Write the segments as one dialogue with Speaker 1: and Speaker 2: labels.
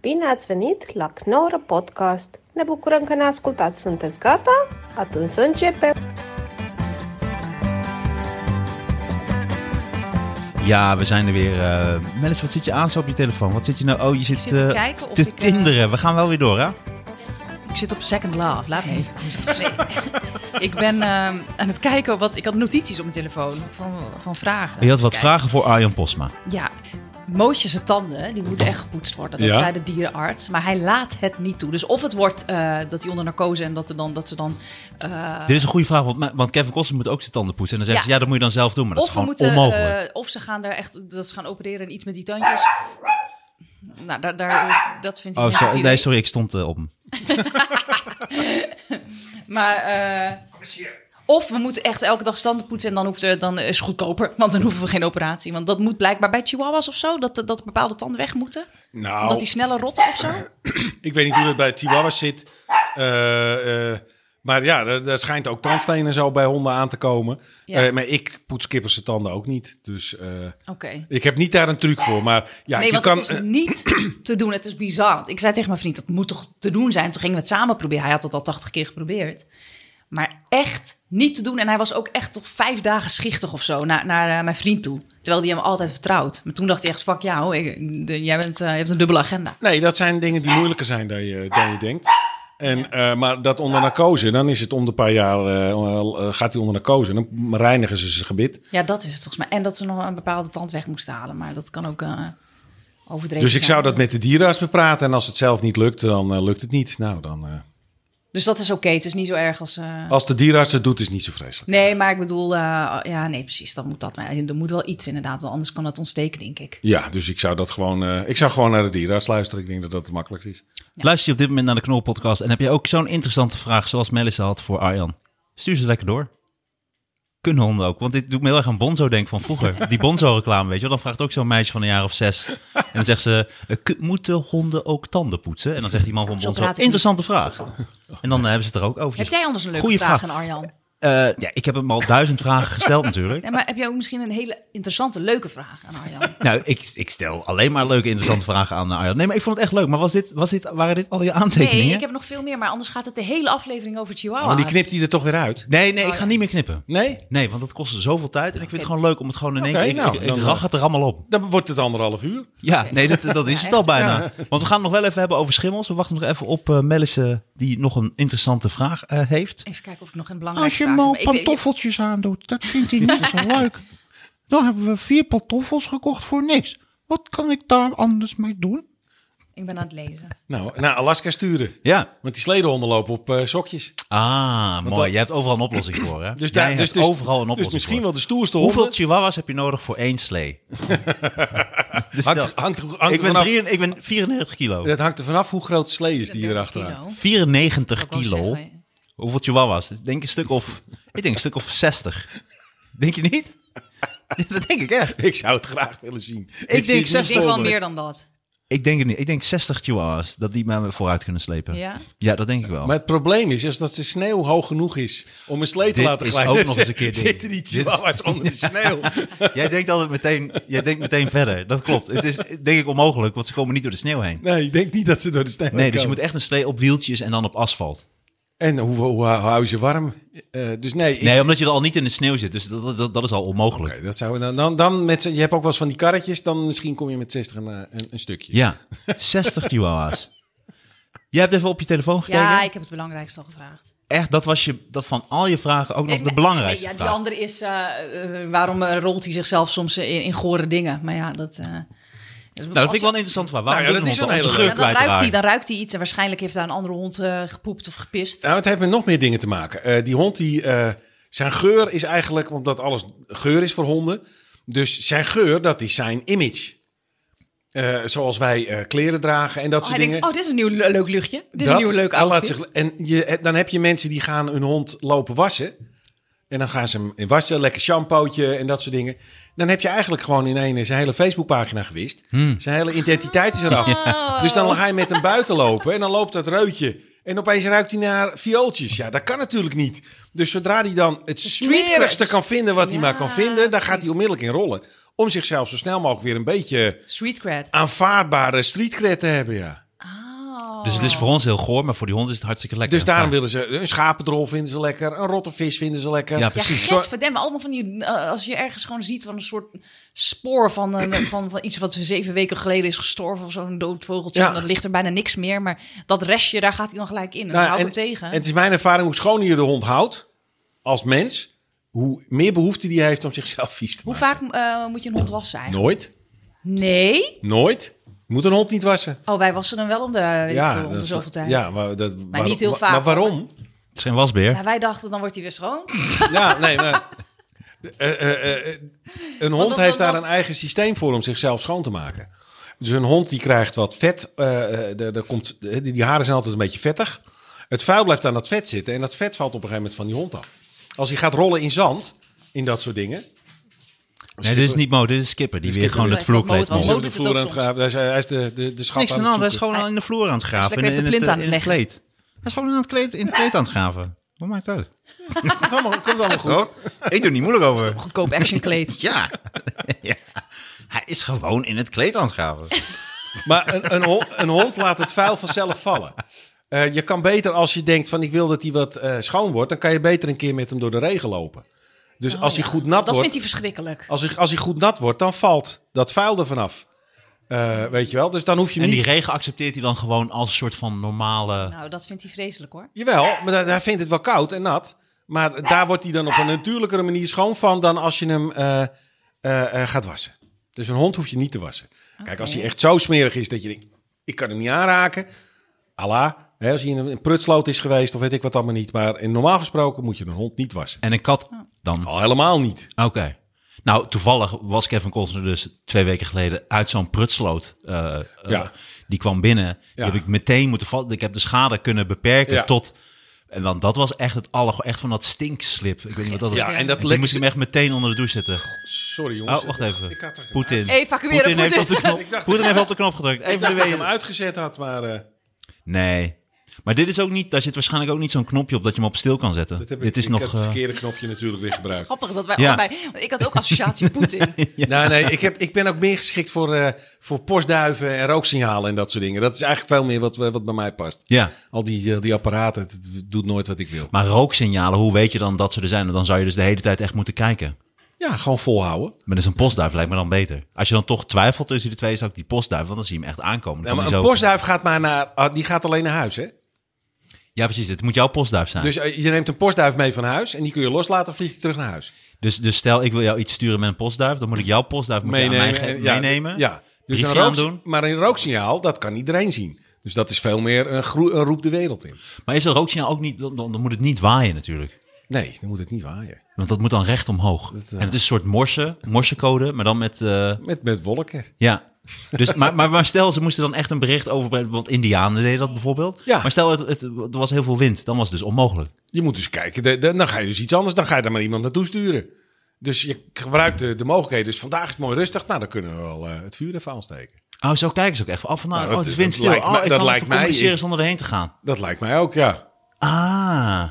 Speaker 1: Bine ați venit la Knorr Podcast! Ne bucurăm că ne ascultați! Sunteți gata? Atunci să începem!
Speaker 2: Ja, we zijn er weer. eh Melis, wat zit je aan zo op je telefoon? Wat zit je nou? Oh, je zit,
Speaker 3: zit te
Speaker 2: eh,
Speaker 3: kijken of
Speaker 2: te
Speaker 3: ik, eh,
Speaker 2: tinderen. We gaan wel weer door, hè?
Speaker 3: Ik zit op Second Love, laat me even. Nee. Ik ben ehm, aan het kijken, wat, ik had notities op mijn telefoon van, van vragen.
Speaker 2: Je had wat
Speaker 3: Kijk. Oh.
Speaker 2: vragen voor Arjan Posma.
Speaker 3: Ja, Moosje zijn tanden, die moeten echt gepoetst worden. Dat
Speaker 4: Ja.
Speaker 3: zei de dierenarts, maar hij laat het niet toe. Dus of het wordt eh, dat hij onder narcose en dat, er dan, dat ze dan... eh,
Speaker 2: Dit is een goede vraag, want, want Kevin Costner moet ook zijn tanden poetsen. En dan zeggen ze,
Speaker 3: Ja.
Speaker 2: ja, dat moet je dan zelf doen. Maar dat
Speaker 3: of,
Speaker 2: is
Speaker 3: we
Speaker 2: gewoon
Speaker 3: moeten,
Speaker 2: onmogelijk.
Speaker 3: eh, of ze gaan daar echt, dat ze gaan opereren en iets met die tandjes... Nou, daar, daar, dat vind ik
Speaker 2: oh,
Speaker 3: niet
Speaker 2: zo-
Speaker 3: het idee.
Speaker 2: nee, sorry, ik stond eh, op hem.
Speaker 3: Maar, eh, of we moeten echt elke dag standen poetsen en dan, hoeft, eh, dan is het goedkoper. Want dan hoeven we geen operatie. Want dat moet blijkbaar bij chihuahuas of zo. Dat, dat bepaalde tanden weg moeten.
Speaker 4: Nou,
Speaker 3: Omdat die sneller rotten of zo.
Speaker 4: ik weet niet hoe dat bij Chihuahuas zit. Eh, eh, maar ja, er, er schijnt ook tandstenen en zo bij honden aan te komen.
Speaker 3: Ja.
Speaker 4: Eh, maar ik poets kippers de tanden ook niet. Dus eh,
Speaker 3: Oké.
Speaker 4: ik heb niet daar een truc voor. Maar ja,
Speaker 3: nee,
Speaker 4: je
Speaker 3: want
Speaker 4: kan... eh,
Speaker 3: het is niet te doen. Het is bizar. Ik zei tegen mijn vriend, dat moet toch te doen zijn? Toen gingen we het samen proberen. Hij had dat al tachtig keer geprobeerd. Maar echt niet te doen. En hij was ook echt toch vijf dagen schichtig of zo naar, naar eh, mijn vriend toe. Terwijl die hem altijd vertrouwt. Maar toen dacht hij echt, fuck jou, ik, de- jij bent, eh, je hebt een dubbele agenda.
Speaker 4: Nee, dat zijn dingen die moeilijker zijn dan je, dan je denkt. En, eh, maar dat onder narcose, dan is het om de paar jaar, eh, eh, gaat hij onder narcose. en Dan reinigen ze zijn gebit.
Speaker 3: Ja, dat is het volgens mij. En dat ze nog een bepaalde tand weg moesten halen. Maar dat kan ook eh, overdreven
Speaker 4: Dus ik
Speaker 3: zijn.
Speaker 4: zou dat met de dierenarts bepraten. En als het zelf niet lukt, dan eh, lukt het niet. Nou, dan... eh,
Speaker 3: Dus dat is oké. Het is niet zo erg als... eh,
Speaker 4: als de dierenarts het doet, is het niet zo vreselijk.
Speaker 3: Nee, maar ik bedoel... eh, ja, nee, precies. Dan moet dat. Maar er moet wel iets inderdaad. Want anders kan dat ontsteken, denk ik.
Speaker 4: Ja, dus ik zou dat gewoon. eh, ik zou gewoon naar de dierenarts luisteren. Ik denk dat dat het makkelijkst is.
Speaker 2: Luister je op dit moment naar de Knorrelpodcast en heb je ook zo'n interessante vraag zoals Melis had voor Arjan? Stuur ze lekker door. Kunnen honden ook, want dit doet me heel erg aan Bonzo denken van vroeger. Die Bonzo-reclame, weet je wel. Dan vraagt ook zo'n meisje van een jaar of zes. En dan zegt ze, eh, k- moeten honden ook tanden poetsen? En dan zegt die man van
Speaker 3: Zo
Speaker 2: Bonzo,
Speaker 3: praat ik
Speaker 2: interessante vraag. En dan eh, hebben ze het er ook over.
Speaker 3: Heb jij anders een leuke
Speaker 2: Goeie
Speaker 3: vraag,
Speaker 2: vraag.
Speaker 3: aan Arjan?
Speaker 2: Eh, ja, ik heb hem al duizend vragen gesteld natuurlijk.
Speaker 3: Nee, maar heb jij ook misschien een hele interessante, leuke vraag aan Arjan?
Speaker 2: Nou, ik, ik stel alleen maar leuke, interessante vragen aan eh, Arjan. Nee, maar ik vond het echt leuk. Maar was dit, was dit, waren dit al je aantekeningen?
Speaker 3: Nee, ik heb nog veel meer. Maar anders gaat het de hele aflevering over Chihuahua.
Speaker 4: Maar Oh, die knipt hij er toch weer uit?
Speaker 2: nee, nee,
Speaker 3: Oh,
Speaker 2: ik ga niet meer knippen.
Speaker 4: Nee?
Speaker 2: Nee, want dat kostte zoveel tijd. En ik vind het gewoon leuk om het gewoon in één
Speaker 4: Oké,
Speaker 2: keer... Ik,
Speaker 4: nou,
Speaker 2: ik- ik
Speaker 4: dan-
Speaker 2: rag het er allemaal op.
Speaker 4: Dan wordt het anderhalf uur.
Speaker 2: Ja, nee, dat, dat is
Speaker 3: Ja,
Speaker 2: het al bijna. Want we gaan het nog wel even hebben over schimmels. We wachten nog even op eh Melisse, die nog een interessante vraag eh, heeft.
Speaker 3: Even kijken of ik nog een belangrijke vraag heb. Ik weet- ik-
Speaker 2: pantoffeltjes aandoet, dat vindt hij niet zo leuk. Dan hebben we vier pantoffels gekocht voor niks. Wat kan ik daar anders mee doen?
Speaker 3: Ik ben aan het lezen.
Speaker 4: Nou, naar Alaska sturen.
Speaker 2: Ja.
Speaker 4: Want die sledehonden lopen op eh, sokjes.
Speaker 2: Ah, mooi.
Speaker 4: dat-
Speaker 2: Je hebt overal een oplossing voor, hè? Jij
Speaker 4: Dus, daar, dus,
Speaker 2: hebt
Speaker 4: dus,
Speaker 2: overal een
Speaker 4: dus
Speaker 2: oplossing
Speaker 4: misschien
Speaker 2: voor.
Speaker 4: wel de stoerste
Speaker 2: Hoeveel
Speaker 4: honden.
Speaker 2: chihuahuas heb je nodig voor één slee? Dus stel-
Speaker 4: Hangt, hangt, hangt
Speaker 2: ik,
Speaker 4: er
Speaker 2: ben
Speaker 4: vanaf,
Speaker 2: drie, ik ben 94 kilo.
Speaker 4: dat hangt er vanaf hoe groot de slee is die je
Speaker 3: 30
Speaker 4: erachteraan.
Speaker 3: kilo.
Speaker 2: 94
Speaker 3: Ik wou
Speaker 2: kilo.
Speaker 3: zeggen,
Speaker 2: Hoeveel chihuahuas? Ik denk een stuk of, ik denk een stuk of 60. Denk je niet? Dat denk ik echt.
Speaker 4: Ik zou het graag willen zien. Ik,
Speaker 2: denk
Speaker 4: zie het niet
Speaker 2: 60
Speaker 3: Ik denk wel
Speaker 4: voor me.
Speaker 3: meer dan dat.
Speaker 2: Ik denk het niet. Ik denk 60 chihuahuas. Dat die me vooruit kunnen slepen.
Speaker 3: Ja?
Speaker 2: Ja, dat denk ik wel.
Speaker 4: Maar het probleem is, is dat de sneeuw hoog genoeg is om een slee te
Speaker 2: Dit
Speaker 4: laten
Speaker 2: is
Speaker 4: glijden.
Speaker 2: ook nog eens een keer ding.
Speaker 4: Zitten die
Speaker 2: Dit-
Speaker 4: chihuahuas onder de sneeuw?
Speaker 2: Jij denkt altijd meteen, jij denkt meteen verder. Dat klopt. Het is denk ik onmogelijk, want ze komen niet door de sneeuw heen.
Speaker 4: Nee, ik denk niet dat ze door de sneeuw
Speaker 2: Nee, dus je
Speaker 4: komen.
Speaker 2: moet echt een slee op wieltjes en dan op asfalt.
Speaker 4: En hoe, hoe, hoe hou je ze warm? Eh, dus nee, ik-
Speaker 2: Nee, omdat je er al niet in de sneeuw zit. Dus dat, dat, dat is al onmogelijk.
Speaker 4: Oké, dat zou, dan, dan, dan met, z'n- je hebt ook wel eens van die karretjes, dan misschien kom je met 60 een, eh, een, een stukje.
Speaker 2: Ja, 60 chihuahuas. Jij hebt even op je telefoon gekeken?
Speaker 3: Ja, ik heb het belangrijkste al gevraagd.
Speaker 2: Echt, dat was je, dat van al je vragen ook nog
Speaker 3: Nee,
Speaker 2: de
Speaker 3: nee,
Speaker 2: belangrijkste
Speaker 3: nee, ja,
Speaker 2: vraag.
Speaker 3: Die andere is, eh, eh, waarom eh, rolt hij zichzelf soms in, in gore dingen? Maar ja, dat... eh, dat is-
Speaker 2: Nou, dat
Speaker 3: als-
Speaker 2: vind ik wel een interessant verhaal.
Speaker 4: Nou
Speaker 2: Waarom
Speaker 4: ja,
Speaker 2: doen
Speaker 4: dat
Speaker 2: honden
Speaker 4: is
Speaker 2: onze
Speaker 4: een
Speaker 2: geur
Speaker 4: hele-
Speaker 3: en dan
Speaker 2: kwijt
Speaker 3: ruikt, hij,
Speaker 2: raken?
Speaker 3: dan ruikt hij iets en waarschijnlijk heeft daar een andere hond eh, gepoept of gepist.
Speaker 4: Nou, het heeft met nog meer dingen te maken. Eh, die hond, die, eh, zijn geur is eigenlijk, omdat alles geur is voor honden. Dus zijn geur, dat is zijn image. Eh, zoals wij eh, kleren dragen en dat
Speaker 3: oh,
Speaker 4: soort
Speaker 3: hij
Speaker 4: dingen.
Speaker 3: denkt, oh, dit is een nieuw le- leuk luchtje. Dit is
Speaker 4: Dat-
Speaker 3: een nieuw leuk
Speaker 4: hij laat
Speaker 3: outfit.
Speaker 4: zich- en je, eh, dan heb je mensen die gaan hun hond lopen wassen. En dan gaan ze hem in wassen, lekker shampootje en dat soort dingen. Dan heb je eigenlijk gewoon in één zijn hele Facebookpagina gewist. Zijn hele identiteit is eraf.
Speaker 3: Ja.
Speaker 4: Dus dan ga je met hem buiten lopen en dan loopt dat reutje. En opeens ruikt hij naar viooltjes. Ja, dat kan natuurlijk niet. Dus zodra hij dan het
Speaker 3: Street
Speaker 4: smerigste
Speaker 3: creds.
Speaker 4: kan vinden wat hij
Speaker 3: Ja,
Speaker 4: maar kan vinden... dan gaat hij
Speaker 3: precies.
Speaker 4: onmiddellijk in rollen. Om zichzelf zo snel mogelijk weer een beetje
Speaker 3: Street cred.
Speaker 4: aanvaardbare streetcred te hebben, ja.
Speaker 3: Oh.
Speaker 2: Dus het is voor ons heel goor, maar voor die hond is het hartstikke lekker. Nou,
Speaker 4: Dus daarom
Speaker 2: Ja.
Speaker 4: willen ze een schapendrol vinden ze lekker, een rotte vis vinden ze lekker.
Speaker 2: Ja,
Speaker 3: Ja,
Speaker 2: precies.
Speaker 4: Zo-
Speaker 3: getverdemme. Allemaal van die, eh, als je ergens gewoon ziet van een soort spoor van, eh, van, van iets wat zeven weken geleden is gestorven of zo'n dood vogeltje.
Speaker 4: Ja.
Speaker 3: En dan ligt er bijna niks meer, maar dat restje, daar gaat hij dan gelijk in. En
Speaker 4: Nou,
Speaker 3: dan houdt
Speaker 4: en-
Speaker 3: hem tegen.
Speaker 4: En het is mijn ervaring, hoe schoner je de hond houdt als mens, hoe meer behoefte die heeft om zichzelf vies te
Speaker 3: Hoe
Speaker 4: maken.
Speaker 3: vaak eh, moet je een hond wassen eigenlijk?
Speaker 4: Nooit,
Speaker 3: Nee?
Speaker 4: nooit. Je moet een hond niet wassen.
Speaker 3: Oh, wij wassen hem wel om de, weet ik veel, om de
Speaker 4: is-
Speaker 3: zoveel tijd.
Speaker 4: Ja, maar, dat, maar
Speaker 3: niet heel vaak,
Speaker 4: Maar waarom?
Speaker 2: Het is geen wasbeer.
Speaker 3: Ja, wij dachten, dan wordt hij weer schoon.
Speaker 4: Ja, nee, maar... eh, eh, eh, een hond
Speaker 3: dan-
Speaker 4: heeft
Speaker 3: dan-
Speaker 4: daar een eigen systeem voor om zichzelf schoon te maken. Dus een hond die krijgt wat vet. eh, eh, daar- daar komt, eh, die, die haren zijn altijd een beetje vettig. Het vuil blijft aan dat vet zitten. En dat vet valt op een gegeven moment van die hond af. Als hij gaat rollen in zand, in dat soort dingen.
Speaker 2: nee, dit is niet Mo, dit is Skipper. Die
Speaker 4: Dit is
Speaker 2: weer
Speaker 4: Skipper.
Speaker 2: gewoon het vloerkleed
Speaker 3: Dat is echt Mo, het
Speaker 2: mol.
Speaker 3: was
Speaker 4: Hij
Speaker 3: Mo
Speaker 4: is de
Speaker 3: doet
Speaker 4: vloer
Speaker 3: Oh, dus het
Speaker 4: aan
Speaker 3: ook
Speaker 4: het graven. Hij is, hij is de, de, de schat
Speaker 2: Niks aan de hand, hij is
Speaker 4: zoeken.
Speaker 2: gewoon in de vloer aan het graven.
Speaker 3: Hij is lekker
Speaker 2: en
Speaker 3: even de
Speaker 2: in het,
Speaker 3: plint
Speaker 2: eh,
Speaker 3: aan
Speaker 2: in het
Speaker 3: het leggen.
Speaker 2: kleed. Hij is gewoon aan het kleed, in het kleed aan het graven. Wat maakt het uit?
Speaker 4: Komt allemaal- komt allemaal goed.
Speaker 2: ik doe niet moeilijk over.
Speaker 3: Goedkoop actionkleed.
Speaker 2: Ja. ja. Hij is gewoon in het kleed aan het graven.
Speaker 4: Maar een, een, hond, een hond laat het vuil vanzelf vallen. Eh, je kan beter als je denkt van ik wil dat hij wat eh, schoon wordt, dan kan je beter een keer met hem door de regen lopen. Dus als hij goed nat
Speaker 3: Oh, Dat
Speaker 4: wordt, Oh.
Speaker 3: vindt hij verschrikkelijk.
Speaker 4: als, hij, als hij goed nat wordt, dan valt dat vuil er vanaf. Eh, weet je wel? Dus dan hoef je
Speaker 2: En
Speaker 4: hem
Speaker 2: die
Speaker 4: niet.
Speaker 2: regen accepteert hij dan gewoon als een soort van normale...
Speaker 3: Nou, dat vindt hij vreselijk hoor.
Speaker 4: Jawel, maar hij- hij vindt het wel koud en nat. Maar daar wordt hij dan op een natuurlijkere manier schoon van dan als je hem eh, eh, eh, gaat wassen. Dus een hond hoef je niet te wassen. Kijk, als hij echt zo smerig is dat je denkt, ik kan hem niet aanraken. Allah, hè, als hij in een prutsloot is geweest of weet ik wat allemaal niet. Maar in normaal gesproken moet je een hond niet wassen.
Speaker 2: En een kat dan?
Speaker 4: Al helemaal niet.
Speaker 2: Oké. Nou, toevallig was Kevin Costner dus twee weken geleden uit zo'n prutsloot. eh, eh,
Speaker 4: Ja.
Speaker 2: die kwam binnen.
Speaker 4: Ja.
Speaker 2: Die heb ik meteen moeten vallen. Ik heb de schade kunnen beperken
Speaker 4: Ja.
Speaker 2: tot... En dan, dat was echt het aller... Echt van dat stinkslip. Ik weet niet wat dat was.
Speaker 4: Ja, en dat
Speaker 2: toen
Speaker 4: lekte
Speaker 2: moest ik
Speaker 4: ze-
Speaker 2: hem echt meteen onder de douche zetten.
Speaker 4: Sorry jongens.
Speaker 2: Oh, wacht even.
Speaker 4: Ik had dat-
Speaker 2: Poetin.
Speaker 3: Evacueren,
Speaker 2: Poetin heeft,
Speaker 3: Poetin.
Speaker 2: op de knop,
Speaker 4: Ik dacht-
Speaker 2: Poetin heeft op de knop gedrukt.
Speaker 4: Ik
Speaker 2: Even
Speaker 4: dacht
Speaker 2: de
Speaker 4: dat je
Speaker 2: wegen.
Speaker 4: hem uitgezet had, maar eh,
Speaker 2: Nee. Maar dit is ook niet, daar zit waarschijnlijk ook niet zo'n knopje op dat je hem op stil kan zetten.
Speaker 4: dat heb ik,
Speaker 2: dit is
Speaker 4: ik heb
Speaker 2: nog.
Speaker 4: het
Speaker 2: eh,
Speaker 4: verkeerde knopje natuurlijk weer
Speaker 3: Het is
Speaker 4: gebruikt.
Speaker 3: grappig dat wij
Speaker 2: Ja.
Speaker 3: allebei... want Ik had ook associatie Poetin.
Speaker 4: Nou, nee, ik, heb, ik ben ook meer geschikt voor, eh, voor postduiven en rooksignalen en dat soort dingen. Dat is eigenlijk veel meer wat, eh, wat bij mij past.
Speaker 2: Ja.
Speaker 4: Al die, eh, die apparaten, het, het doet nooit wat ik wil.
Speaker 2: Maar rooksignalen, hoe weet je dan dat ze er zijn? Want Dan zou je dus de hele tijd echt moeten kijken.
Speaker 4: Ja, gewoon volhouden.
Speaker 2: Maar dus een postduif lijkt me dan beter. Als je dan toch twijfelt tussen de twee, zou ik die postduif, want dan zie je hem echt aankomen. Dan
Speaker 4: Ja,
Speaker 2: kan
Speaker 4: maar
Speaker 2: hij
Speaker 4: een
Speaker 2: zo-
Speaker 4: postduif gaat maar naar, ah, die gaat alleen naar huis, hè?
Speaker 2: Ja, precies. Het moet jouw postduif zijn. Dus,
Speaker 4: Dus eh, je neemt een postduif mee van huis en die kun je loslaten, vliegt hij terug naar huis.
Speaker 2: dus, stel, ik wil jou iets sturen met een postduif, dan moet ik jouw postduif moet je aan mij ge-
Speaker 4: en- ja,
Speaker 2: meenemen.
Speaker 4: Ja. Dus een
Speaker 2: Briefje
Speaker 4: rook,
Speaker 2: aandoen.
Speaker 4: maar een rooksignaal, dat kan iedereen zien. Dus dat is veel meer een, groe- een roep de wereld in.
Speaker 2: Maar is een rooksignaal ook niet, dan, dan dan moet het niet waaien natuurlijk.
Speaker 4: Nee, dan moet het niet waaien.
Speaker 2: Want dat moet dan recht omhoog.
Speaker 4: eh,
Speaker 2: En het is een soort morse, morsecode, maar dan met... eh,
Speaker 4: Met, met wolken.
Speaker 2: Ja. Dus, maar, maar, maar stel, ze moesten dan echt een bericht overbrengen. Want Indianen deden dat bijvoorbeeld.
Speaker 4: Ja.
Speaker 2: Maar stel, het, het, er was heel veel wind. Dan was het dus onmogelijk.
Speaker 4: Je moet dus kijken, de- de- dan ga je dus iets anders, dan ga je daar maar iemand naartoe sturen. Dus je gebruikt de, de mogelijkheden. Dus vandaag is het mooi rustig, nou dan kunnen we wel eh, het vuur even aansteken.
Speaker 2: Oh, zo kijken ze ook echt. van, Oh, van, nou,
Speaker 4: Nou,
Speaker 2: oh,
Speaker 4: dat-
Speaker 2: het is windstil.
Speaker 4: dat lijkt
Speaker 2: oh,
Speaker 4: mij-
Speaker 2: ik
Speaker 4: dat
Speaker 2: kan
Speaker 4: lijkt
Speaker 2: even
Speaker 4: mij-
Speaker 2: communiceren zonder erheen te gaan.
Speaker 4: Dat lijkt mij ook, ja.
Speaker 2: Ah.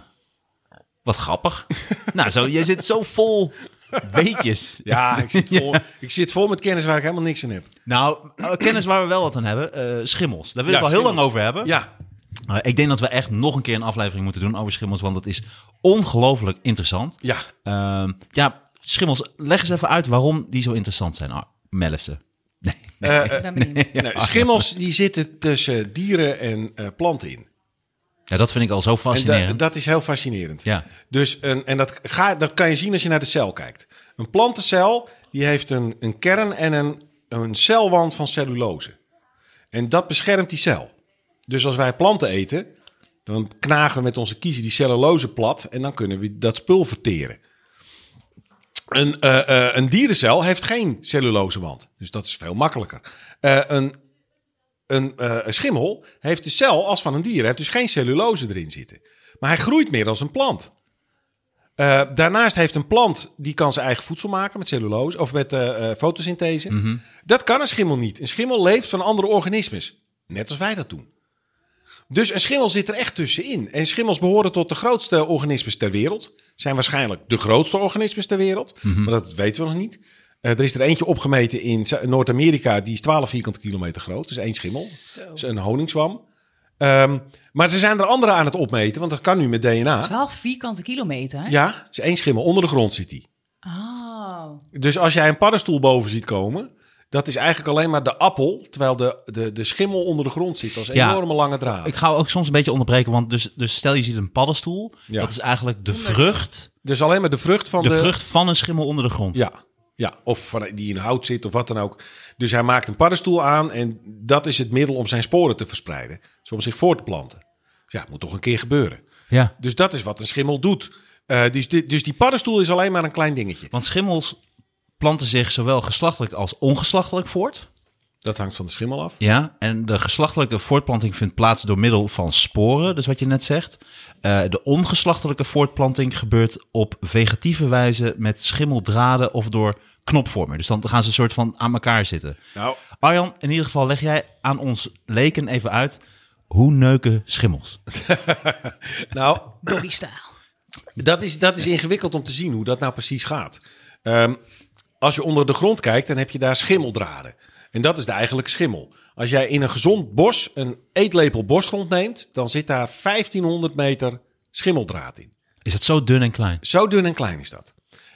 Speaker 2: Wat grappig. nou, zo, je zit zo vol weetjes.
Speaker 4: Ja, ik zit, vol, ik zit vol met kennis waar ik helemaal niks aan heb.
Speaker 2: Nou, eh, kennis waar we wel wat aan hebben. eh, schimmels. Daar wil
Speaker 4: Ja,
Speaker 2: ik al heel
Speaker 4: schimmels.
Speaker 2: lang over hebben.
Speaker 4: Ja,
Speaker 2: Eh, ik denk dat we echt nog een keer een aflevering moeten doen over schimmels. Want dat is ongelooflijk interessant.
Speaker 4: ja.
Speaker 2: Ehm, ja, Schimmels, leg eens even uit waarom die zo interessant zijn, Ar- Mellissen.
Speaker 4: Eh, eh,
Speaker 3: Ik ben benieuwd.
Speaker 4: nee, schimmels die zitten tussen dieren en eh, planten in.
Speaker 2: Ja, dat vind ik al zo
Speaker 4: En da-
Speaker 2: fascinerend.
Speaker 4: dat is heel fascinerend.
Speaker 2: ja.
Speaker 4: Dus een, en dat, ga, dat kan je zien als je naar de cel kijkt. Een plantencel die heeft een, een kern en een, een celwand van cellulose. En dat beschermt die cel. Dus als wij planten eten, dan knagen we met onze kiezen die cellulose plat en dan kunnen we dat spul verteren. Een, eh, eh, een dierencel heeft geen cellulosewand, dus dat is veel makkelijker. Eh, een, een, eh, een schimmel heeft de cel als van een dier, heeft dus geen cellulose erin zitten. Maar hij groeit meer als een plant. Eh, daarnaast heeft een plant die kan zijn eigen voedsel maken met cellulose of met eh, eh, fotosynthese. Dat kan een schimmel niet. Een schimmel leeft van andere organismes, net als wij dat doen. Dus een schimmel zit er echt tussenin. En schimmels behoren tot de grootste organismes ter wereld. Zijn waarschijnlijk de grootste organismes ter wereld. Maar dat weten we nog niet. Eh, er is er eentje opgemeten in Zu- Noord-Amerika. Die is 12 vierkante kilometer groot. Dus één schimmel.
Speaker 3: Zo.
Speaker 4: Dus een honingswam. Ehm, maar ze zijn er anderen aan het opmeten, want dat kan nu met DNA.
Speaker 3: 12 vierkante kilometer?
Speaker 4: Ja, het is één schimmel. Onder de grond zit die.
Speaker 3: Oh.
Speaker 4: Dus als jij een paddenstoel boven ziet komen, dat is eigenlijk alleen maar de appel, terwijl de, de, de schimmel onder de grond zit. als
Speaker 2: Ja.
Speaker 4: enorme lange draad.
Speaker 2: Ik ga ook soms een beetje onderbreken, want dus, dus stel je ziet een paddenstoel.
Speaker 4: Ja.
Speaker 2: Dat is eigenlijk de vrucht,
Speaker 4: Dus alleen maar de vrucht van
Speaker 2: de
Speaker 4: de...
Speaker 2: vrucht van een schimmel onder de grond.
Speaker 4: Ja, ja. of van, die in hout zit of wat dan ook. Dus hij maakt een paddenstoel aan en dat is het middel om zijn sporen te verspreiden. Dus om zich voor te planten. Dus ja, het moet toch een keer gebeuren.
Speaker 2: Ja.
Speaker 4: Dus dat is wat een schimmel doet. Eh, dus, dit, dus die paddenstoel is alleen maar een klein dingetje.
Speaker 2: Want schimmels planten zich zowel geslachtelijk als ongeslachtelijk voort.
Speaker 4: Dat hangt van de schimmel af.
Speaker 2: Ja, en de geslachtelijke voortplanting vindt plaats door middel van sporen, dus wat je net zegt. Eh, de ongeslachtelijke voortplanting gebeurt op vegetieve wijze met schimmeldraden of door knopvormen. Dus dan gaan ze een soort van aan elkaar zitten.
Speaker 4: Nou,
Speaker 2: Arjan, in ieder geval leg jij aan ons leken even uit hoe neuken schimmels.
Speaker 4: nou
Speaker 3: Doggy style.
Speaker 4: dat, is, dat is ingewikkeld om te zien hoe dat nou precies gaat. Ehm, als je onder de grond kijkt, dan heb je daar schimmeldraden. En dat is de eigenlijke schimmel. Als jij in een gezond bos een eetlepel bosgrond neemt, dan zit daar 1500 meter schimmeldraad in.
Speaker 2: Is dat zo dun en klein?
Speaker 4: Zo dun en klein is dat.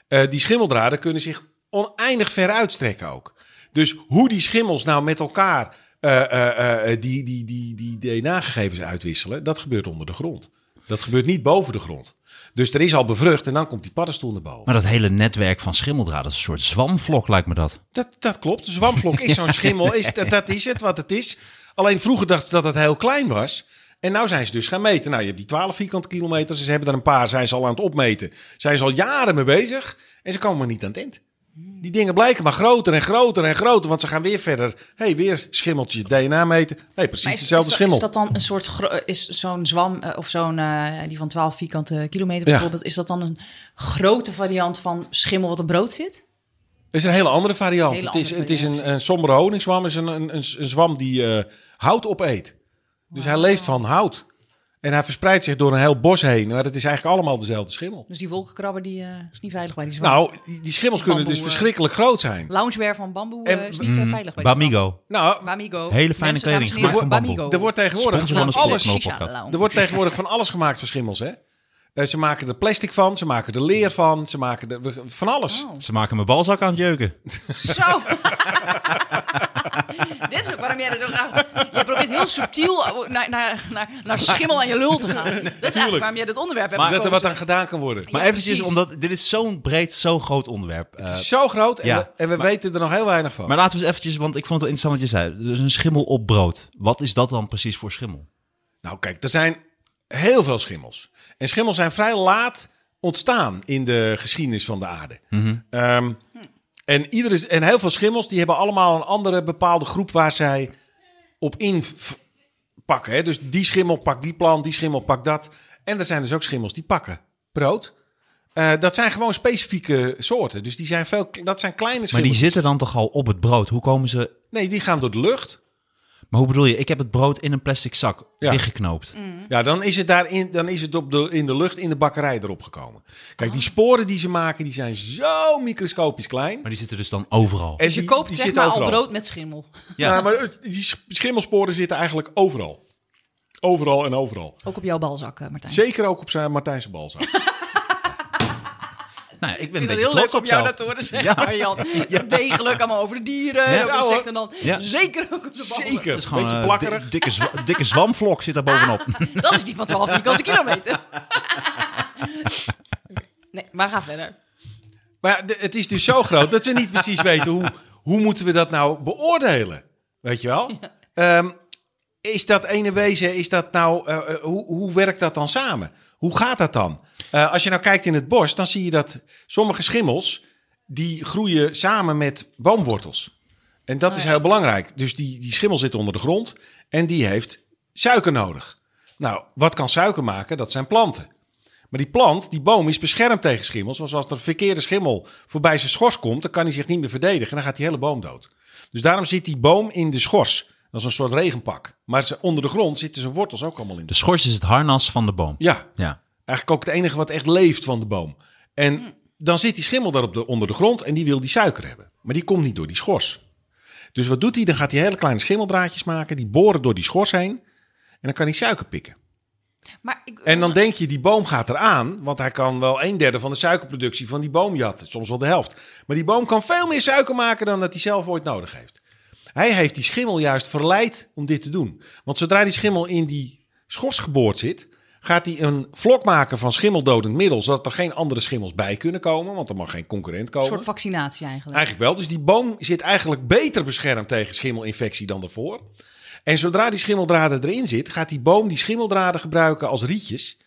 Speaker 4: Eh, die schimmeldraden kunnen zich oneindig ver uitstrekken ook. Dus hoe die schimmels nou met elkaar eh, eh, eh, die, die, die, die DNA-gegevens uitwisselen, dat gebeurt onder de grond. Dat gebeurt niet boven de grond. Dus er is al bevrucht en dan komt die paddenstoel naar boven.
Speaker 2: Maar dat hele netwerk van schimmeldraden, dat is een soort zwamvlok lijkt me dat.
Speaker 4: Dat, dat klopt. De zwamvlok is zo'n schimmel. Is, dat, dat is het, wat het is. Alleen vroeger dachten ze dat het heel klein was. En nou zijn ze dus gaan meten. Nou, je hebt die 12 vierkante kilometers. Ze hebben er een paar. Zijn ze al aan het opmeten. Zijn ze al jaren mee bezig. En ze komen maar niet aan het eind. Die dingen blijken maar groter en groter en groter. Want ze gaan weer verder. Hé, hey, weer schimmeltje DNA meten. Hé, hey, precies
Speaker 3: Maar is,
Speaker 4: dezelfde
Speaker 3: is dat-
Speaker 4: schimmel.
Speaker 3: Is dat dan een soort, gro- is zo'n zwam eh, of zo'n, eh, die van 12 vierkante kilometer
Speaker 4: Ja.
Speaker 3: bijvoorbeeld, is dat dan een grote variant van schimmel wat op brood zit?
Speaker 4: Het is een hele andere variant.
Speaker 3: Hele
Speaker 4: het is,
Speaker 3: andere
Speaker 4: het is
Speaker 3: variant.
Speaker 4: een, een sombere honingzwam, is een, een, een, een zwam die eh, hout opeet. Dus hij leeft van hout. En hij verspreidt zich door een heel bos heen. Maar dat is eigenlijk allemaal dezelfde schimmel.
Speaker 3: Dus die wolkenkrabber die, eh, is niet veilig bij die zwam.
Speaker 4: Nou, die die schimmels kunnen dus
Speaker 3: Bamboe, eh.
Speaker 4: verschrikkelijk groot zijn.
Speaker 3: Loungewear van bamboe eh,
Speaker 4: En-
Speaker 3: is niet eh, veilig bij die zwam.
Speaker 2: mm, Bamigo.
Speaker 4: Nou,
Speaker 3: Bamigo.
Speaker 2: Hele fijne
Speaker 3: Mensen,
Speaker 2: kleding,
Speaker 3: dames en heren,
Speaker 2: gemaakt van
Speaker 3: Bamigo.
Speaker 2: bamboe.
Speaker 4: er wordt tegenwoordig
Speaker 2: Sponsor van
Speaker 4: van
Speaker 2: de
Speaker 4: alles,
Speaker 2: Sponsor.
Speaker 3: Shisha
Speaker 2: podcast.
Speaker 3: lounge.
Speaker 4: er wordt tegenwoordig van alles gemaakt van schimmels, hè? Eh, ze maken er plastic van, ze maken er leer van, ze maken er we- van alles.
Speaker 3: Oh.
Speaker 2: Ze maken mijn balzak aan het jeuken.
Speaker 3: Zo. Dit is ook waarom jij er zo graag... Je probeert heel subtiel naar, naar, naar, naar schimmel aan je lul te gaan. Dat is eigenlijk waarom jij dit onderwerp hebt
Speaker 2: Maar
Speaker 4: Dat er
Speaker 3: gekozen.
Speaker 4: wat aan gedaan kan worden.
Speaker 2: Maar
Speaker 3: Ja,
Speaker 2: eventjes,
Speaker 3: precies.
Speaker 2: omdat dit is zo'n breed, zo groot onderwerp. Eh,
Speaker 4: Het is zo groot en
Speaker 2: ja.
Speaker 4: we, en we weten er nog heel weinig van.
Speaker 2: maar laten we eens eventjes, want ik vond het wel interessant wat je zei. Dus een schimmel op brood. Wat is dat dan precies voor schimmel?
Speaker 4: Nou, kijk, er zijn heel veel schimmels. En schimmels zijn vrij laat ontstaan in de geschiedenis van de aarde.
Speaker 2: Mhm.
Speaker 4: Ehm, en, iedere, en heel veel schimmels die hebben allemaal een andere bepaalde groep waar zij op inpakken. Hè? Dus die schimmel pakt die plant, die schimmel pakt dat. En er zijn dus ook schimmels die pakken brood. Eh, dat zijn gewoon specifieke soorten. Dus die zijn veel, dat zijn kleine
Speaker 2: Maar
Speaker 4: schimmels.
Speaker 2: die zitten dan toch al op het brood? Hoe komen ze...
Speaker 4: Nee, die gaan door de lucht.
Speaker 2: Maar hoe bedoel je? Ik heb het brood in een plastic zak
Speaker 4: Ja.
Speaker 2: dichtgeknoopt.
Speaker 3: Mm.
Speaker 4: Ja, dan is het, daarin, dan is het op de, in de lucht in de bakkerij erop gekomen. Kijk, die sporen die ze maken, die zijn zo microscopisch klein.
Speaker 2: Maar die zitten dus dan overal.
Speaker 4: En
Speaker 3: Dus je
Speaker 4: die-
Speaker 3: koopt
Speaker 4: die
Speaker 3: zeg
Speaker 4: zitten
Speaker 3: maar al
Speaker 4: overal.
Speaker 3: brood met schimmel.
Speaker 4: Ja.
Speaker 2: Ja.
Speaker 4: maar eh, die sch- schimmelsporen zitten eigenlijk overal. Overal en overal.
Speaker 3: Ook op jouw balzak, eh, Martijn.
Speaker 4: Zeker ook op zijn Martijnse balzaak.
Speaker 2: Nou, ja, ik ben een
Speaker 3: Ik vind
Speaker 2: beetje
Speaker 3: het heel
Speaker 2: trots
Speaker 3: leuk om
Speaker 2: op
Speaker 3: jou
Speaker 2: jou.
Speaker 3: dat te horen zeggen, Arjan. Degelijk allemaal over de dieren,
Speaker 2: Ja.
Speaker 3: over
Speaker 4: Ja, hoor.
Speaker 3: insecten dan.
Speaker 2: Ja.
Speaker 3: Zeker ook op de ballen.
Speaker 4: Zeker.
Speaker 2: Dat is gewoon
Speaker 4: Beetje
Speaker 2: een
Speaker 4: plakkerig.
Speaker 2: dik- dikke, zwa- dikke zwamvlok zit daar bovenop.
Speaker 3: Dat is die van 12 vierkante kilometer. nee, maar ga verder.
Speaker 4: Maar ja, de- het is dus zo groot dat we niet precies weten hoe, hoe moeten we dat nou beoordelen. Weet je wel? Ehm, is dat ene wezen, is dat nou, eh, eh, hoe, hoe werkt dat dan samen? Hoe gaat dat dan? Eh, als je nou kijkt in het bos, dan zie je dat sommige schimmels, die groeien samen met boomwortels. En dat
Speaker 3: Oh
Speaker 4: is
Speaker 3: ja.
Speaker 4: heel belangrijk. Dus die, die schimmel zit onder de grond en die heeft suiker nodig. Nou, wat kan suiker maken? Dat zijn planten. Maar die plant, die boom, is beschermd tegen schimmels. Want als er een verkeerde schimmel voorbij zijn schors komt, dan kan hij zich niet meer verdedigen. En dan gaat die hele boom dood. Dus daarom zit die boom in de schors. Dat is een soort regenpak. Maar ze, onder de grond zitten zijn wortels ook allemaal in de
Speaker 2: De schors is het harnas van de boom.
Speaker 4: Ja,
Speaker 2: Ja.
Speaker 4: eigenlijk ook het enige wat echt leeft van de boom. En dan zit die schimmel daar op de, onder de grond en die wil die suiker hebben. Maar die komt niet door die schors. Dus wat doet hij? Dan gaat hij hele kleine schimmeldraadjes maken. Die boren door die schors heen. En dan kan hij suiker pikken.
Speaker 3: Maar ik,
Speaker 4: En dan denk je, die boom gaat eraan, want hij kan wel een derde van de suikerproductie van die boom jatten. Soms wel de helft. Maar die boom kan veel meer suiker maken dan dat hij zelf ooit nodig heeft. Hij heeft die schimmel juist verleid om dit te doen. Want zodra die schimmel in die schors geboord zit, gaat hij een vlok maken van schimmeldodend middel, zodat er geen andere schimmels bij kunnen komen, want er mag geen concurrent
Speaker 3: een
Speaker 4: komen.
Speaker 3: soort vaccinatie eigenlijk.
Speaker 4: Eigenlijk wel. Dus die boom zit eigenlijk beter beschermd tegen schimmelinfectie dan daarvoor. En zodra die schimmeldraden erin zit, gaat die boom die schimmeldraden gebruiken als rietjes.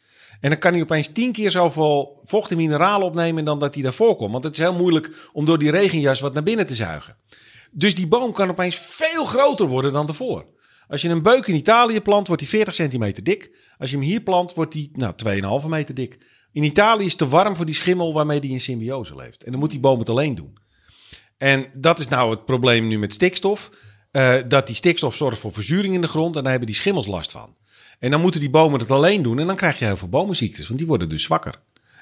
Speaker 4: En dan kan hij opeens tien keer zoveel vocht en mineralen opnemen dan dat hij daarvoor kon. Want het is heel moeilijk om door die regenjas wat naar binnen te zuigen. Dus die boom kan opeens veel groter worden dan daarvoor. Als je een beuk in Italië plant, wordt die 40 centimeter dik. Als je hem hier plant, wordt die nou, 2,5 meter dik. In Italië is het te warm voor die schimmel waarmee die in symbiose leeft. En dan moet die boom het alleen doen. En dat is nou het probleem nu met stikstof. eh, dat die stikstof zorgt voor verzuring in de grond en daar hebben die schimmels last van. En dan moeten die bomen het alleen doen en dan krijg je heel veel bomenziektes, want die worden dus zwakker.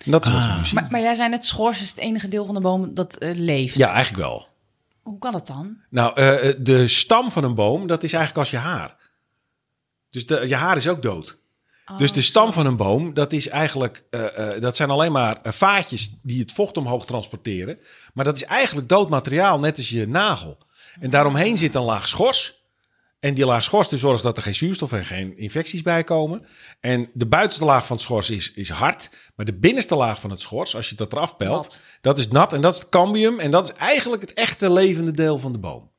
Speaker 4: En dat is wat we nu zien.
Speaker 3: Maar, maar jij zei net, schors is het enige deel van de boom dat eh, leeft.
Speaker 4: Ja, eigenlijk wel.
Speaker 3: Hoe kan dat dan?
Speaker 4: Nou, eh, eh, de stam van een boom, dat is eigenlijk als je haar. Dus de, je haar is ook dood. dus de stam van een boom, dat, is eigenlijk, eh, eh, dat zijn alleen maar eh, vaatjes die het vocht omhoog transporteren. Maar dat is eigenlijk dood materiaal, net als je nagel. En daaromheen zit een laag schors. En die laag schors die zorgt dat er geen zuurstof en geen infecties bij komen. En de buitenste laag van het schors is, is hard. Maar de binnenste laag van het schors, als je dat eraf pelt,
Speaker 3: Nat.
Speaker 4: dat is nat. En dat is het cambium. En dat is eigenlijk het echte levende deel van de boom.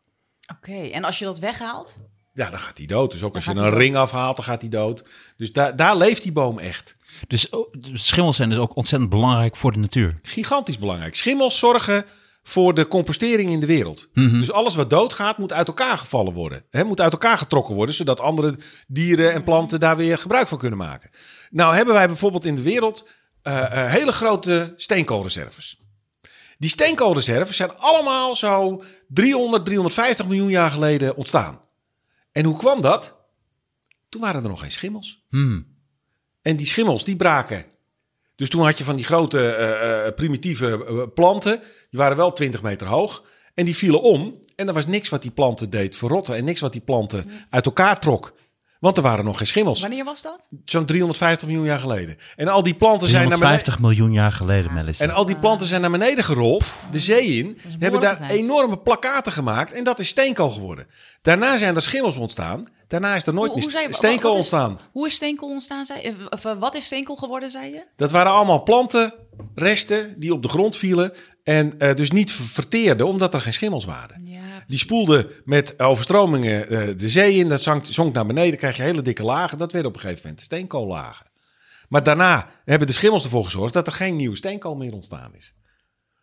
Speaker 3: Oké, en als je dat weghaalt?
Speaker 4: Ja, dan gaat hij dood. Dus ook als je
Speaker 3: gaat
Speaker 4: een
Speaker 3: hij dood.
Speaker 4: ring afhaalt, dan gaat hij dood. Dus daar daar leeft die boom echt.
Speaker 2: Dus oh, de schimmels zijn dus ook ontzettend belangrijk voor de natuur.
Speaker 4: Gigantisch belangrijk. Schimmels zorgen voor de compostering in de wereld.
Speaker 3: Mhm.
Speaker 4: Dus alles wat doodgaat, moet uit elkaar gevallen worden. Hè, moet uit elkaar getrokken worden, zodat andere dieren en planten daar weer gebruik van kunnen maken. Nou hebben wij bijvoorbeeld in de wereld eh, eh, hele grote steenkoolreserves. Die steenkoolreserves zijn allemaal zo 300, 350 miljoen jaar geleden ontstaan. En hoe kwam dat? Toen waren er nog geen schimmels.
Speaker 2: Hmm.
Speaker 4: En die schimmels, die braken. Dus toen had je van die grote eh, eh, primitieve eh, planten. Die waren wel 20 meter hoog. En die vielen om. En er was niks wat die planten deed verrotten. En niks wat die planten uit elkaar trok. Want er waren nog geen schimmels.
Speaker 3: Wanneer was dat?
Speaker 4: Zo'n 350 miljoen jaar geleden. En al die planten zijn naar beneden.
Speaker 2: 350 miljoen jaar geleden, Melissa.
Speaker 4: En al die planten zijn naar beneden gerold, de zee in. hebben daar
Speaker 3: tijd.
Speaker 4: enorme plakaten gemaakt en dat is steenkool geworden. Daarna zijn er schimmels ontstaan. Daarna is er nooit
Speaker 3: hoe,
Speaker 4: meer
Speaker 3: hoe zei je-
Speaker 4: steenkool
Speaker 3: wat is-
Speaker 4: ontstaan.
Speaker 3: Hoe is steenkool ontstaan? Zei, eh, of, eh, wat is steenkool geworden, zei je?
Speaker 4: Dat waren allemaal plantenresten die op de grond vielen. En eh, dus niet ver- verteerden, omdat er geen schimmels waren.
Speaker 3: Ja,
Speaker 4: Die spoelden met overstromingen eh, de zee in. Dat zank, zonk naar beneden, krijg je hele dikke lagen. Dat werden op een gegeven moment steenkoollagen. Maar daarna hebben de schimmels ervoor gezorgd dat er geen nieuwe steenkool meer ontstaan is.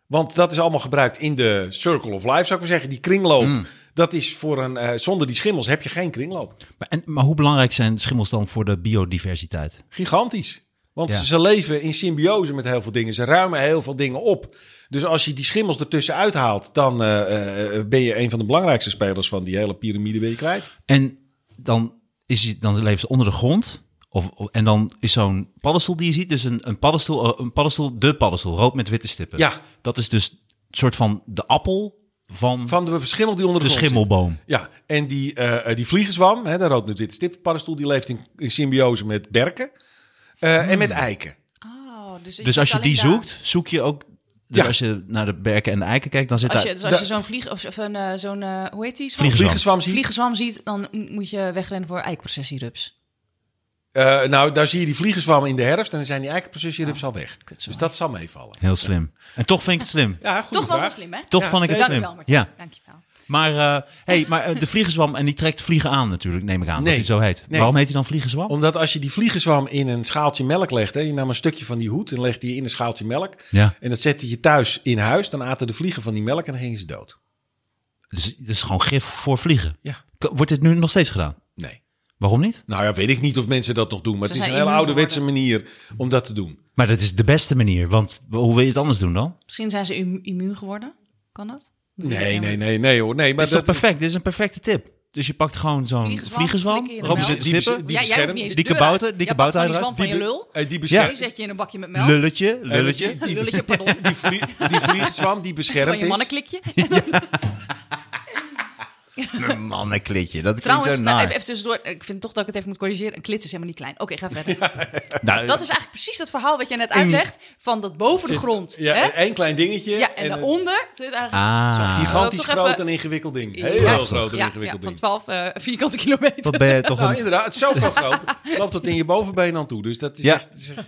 Speaker 4: Want dat is allemaal gebruikt in de circle of life, zou ik maar zeggen. Die kringloop, dat is voor een... eh, zonder die schimmels heb je geen kringloop.
Speaker 2: Maar, en, maar hoe belangrijk zijn schimmels dan voor de biodiversiteit?
Speaker 4: Gigantisch. Want
Speaker 2: Ja.
Speaker 4: ze, ze leven in symbiose met heel veel dingen. Ze ruimen heel veel dingen op. Dus als je die schimmels ertussen uithaalt, dan eh, eh, ben je een van de belangrijkste spelers van die hele piramide ben je kwijt.
Speaker 2: En dan, is, hij- dan leven ze onder de grond. Of, of- en dan is zo'n paddenstoel die je ziet, dus een, een, paddenstoel, eh, een paddenstoel, de paddenstoel, rood met witte stippen.
Speaker 4: Ja.
Speaker 2: Dat is dus een soort van de appel van,
Speaker 4: Van de schimmel die onder de,
Speaker 2: de
Speaker 4: grond zit.
Speaker 2: schimmelboom.
Speaker 4: Ja, en die, eh, eh, die vliegenzwam, hè, de rood met witte stip paddenstoel, die leeft in, in symbiose met berken eh, en met eiken.
Speaker 3: Oh, dus,
Speaker 2: Dus als je
Speaker 3: alleen
Speaker 2: die
Speaker 3: daar-
Speaker 2: zoekt, zoek je ook... Dus
Speaker 4: Ja.
Speaker 2: Als je naar de berken en de eiken kijkt, dan zit
Speaker 3: Als
Speaker 2: daar...
Speaker 3: je, dus als je
Speaker 4: Da-
Speaker 3: zo'n vlieg of zo'n, eh, zo'n eh, hoe heet die? Zwam?
Speaker 2: Vliegenzwam.
Speaker 4: Vliegenzwam zie je-
Speaker 3: Vliegenzwam ziet, dan m- moet je wegrennen voor eikenprocessierups.
Speaker 4: Eh, nou, daar zie je die vliegenzwam in de herfst en dan zijn die eikenprocessierups al weg.
Speaker 3: kutzooi.
Speaker 4: Dus dat zal meevallen.
Speaker 2: Heel slim. En toch vind ik het slim.
Speaker 4: Ja, goed.
Speaker 3: Toch wel weer slim, hè?
Speaker 2: Toch
Speaker 4: Ja,
Speaker 2: vond ik het
Speaker 3: Dank
Speaker 2: slim.
Speaker 3: je wel, Martijn.
Speaker 2: Ja.
Speaker 3: Dank je wel.
Speaker 2: Maar, eh, hey, maar eh, de vliegenzwam, en die trekt vliegen aan natuurlijk, neem ik aan, dat
Speaker 4: Nee.
Speaker 2: hij zo heet.
Speaker 4: Nee.
Speaker 2: Waarom heet hij dan
Speaker 3: Oh.
Speaker 2: vliegenzwam?
Speaker 4: Omdat als je die vliegenzwam in een schaaltje melk legt, hè, je nam een stukje van die hoed en legde die in een schaaltje melk.
Speaker 2: Ja.
Speaker 4: En dat zette je thuis in huis, dan aten de vliegen van die melk en dan gingen ze dood.
Speaker 2: Dus het is gewoon gif voor vliegen.
Speaker 4: Ja.
Speaker 2: K- Wordt dit nu nog steeds gedaan?
Speaker 4: Nee.
Speaker 2: Waarom niet?
Speaker 4: Nou ja, weet ik niet of mensen dat nog doen, maar
Speaker 3: Ze
Speaker 4: het is
Speaker 3: zijn
Speaker 4: een hele
Speaker 3: immuun
Speaker 4: ouderwetse manier om dat te doen.
Speaker 2: Maar dat is de beste manier, want hoe wil je het anders doen dan?
Speaker 3: Misschien zijn ze im- immuun geworden. Kan dat? Dat weet
Speaker 4: Nee,
Speaker 3: ik
Speaker 4: nee,
Speaker 3: helemaal
Speaker 4: nee, nee hoor. Nee,
Speaker 2: Maar
Speaker 4: maar
Speaker 2: is toch
Speaker 4: dat,
Speaker 2: perfect? Dit is een perfecte tip. Dus je pakt gewoon zo'n
Speaker 3: Vliegenzwam,
Speaker 2: vliegenzwam,
Speaker 3: flikker je in de
Speaker 2: rood met
Speaker 3: melk.
Speaker 2: witte
Speaker 4: Die
Speaker 2: stippen,
Speaker 4: bes-
Speaker 3: niet.
Speaker 4: die
Speaker 3: Ja, jij hoeft
Speaker 4: beschermt-
Speaker 3: niet eens
Speaker 2: dikke
Speaker 3: de deur
Speaker 2: bouten-
Speaker 3: uit.
Speaker 2: dikke
Speaker 3: Jij pakt
Speaker 2: bouten
Speaker 3: gewoon die
Speaker 2: eruit.
Speaker 3: zwam van je
Speaker 4: Die
Speaker 3: lul.
Speaker 4: be- eh, die
Speaker 2: Ja.
Speaker 3: Die
Speaker 4: beschermt,
Speaker 3: zet je in een bakje met melk.
Speaker 2: lulletje,
Speaker 4: eh,
Speaker 2: lulletje.
Speaker 4: Die, die,
Speaker 3: Lulletje, pardon.
Speaker 4: die vlie- die vliegenzwam die
Speaker 3: Van
Speaker 4: beschermd
Speaker 3: je
Speaker 4: is.
Speaker 3: mannenklikje.
Speaker 2: Een mannenklitje, dat klinkt
Speaker 3: Trouwens,
Speaker 2: zo
Speaker 3: nou,
Speaker 2: naar.
Speaker 3: even, even tussendoor. Ik vind toch dat ik het even moet corrigeren. Een klit is helemaal niet klein. Oké, ga verder.
Speaker 2: Nou,
Speaker 3: Dat is eigenlijk precies dat verhaal wat jij net uitlegt. Van dat boven de grond.
Speaker 4: Ja,
Speaker 3: hè?
Speaker 4: één klein dingetje.
Speaker 3: Ja, en,
Speaker 4: een
Speaker 3: daaronder zit eigenlijk...
Speaker 2: Ah,
Speaker 4: gigantisch
Speaker 3: Eh, toch
Speaker 4: groot
Speaker 3: even-
Speaker 4: en ingewikkeld ding.
Speaker 3: Ja,
Speaker 4: Heel
Speaker 3: ja,
Speaker 4: groot en
Speaker 3: ja,
Speaker 4: ingewikkeld
Speaker 3: ja, van
Speaker 4: ding.
Speaker 3: 12 eh, vierkante kilometer.
Speaker 2: dat ben je toch
Speaker 4: Nou,
Speaker 2: een...
Speaker 4: inderdaad, zoveel groot. Loopt tot in je bovenbeen aan toe. Dus dat is
Speaker 2: Ja.
Speaker 4: echt... is echt-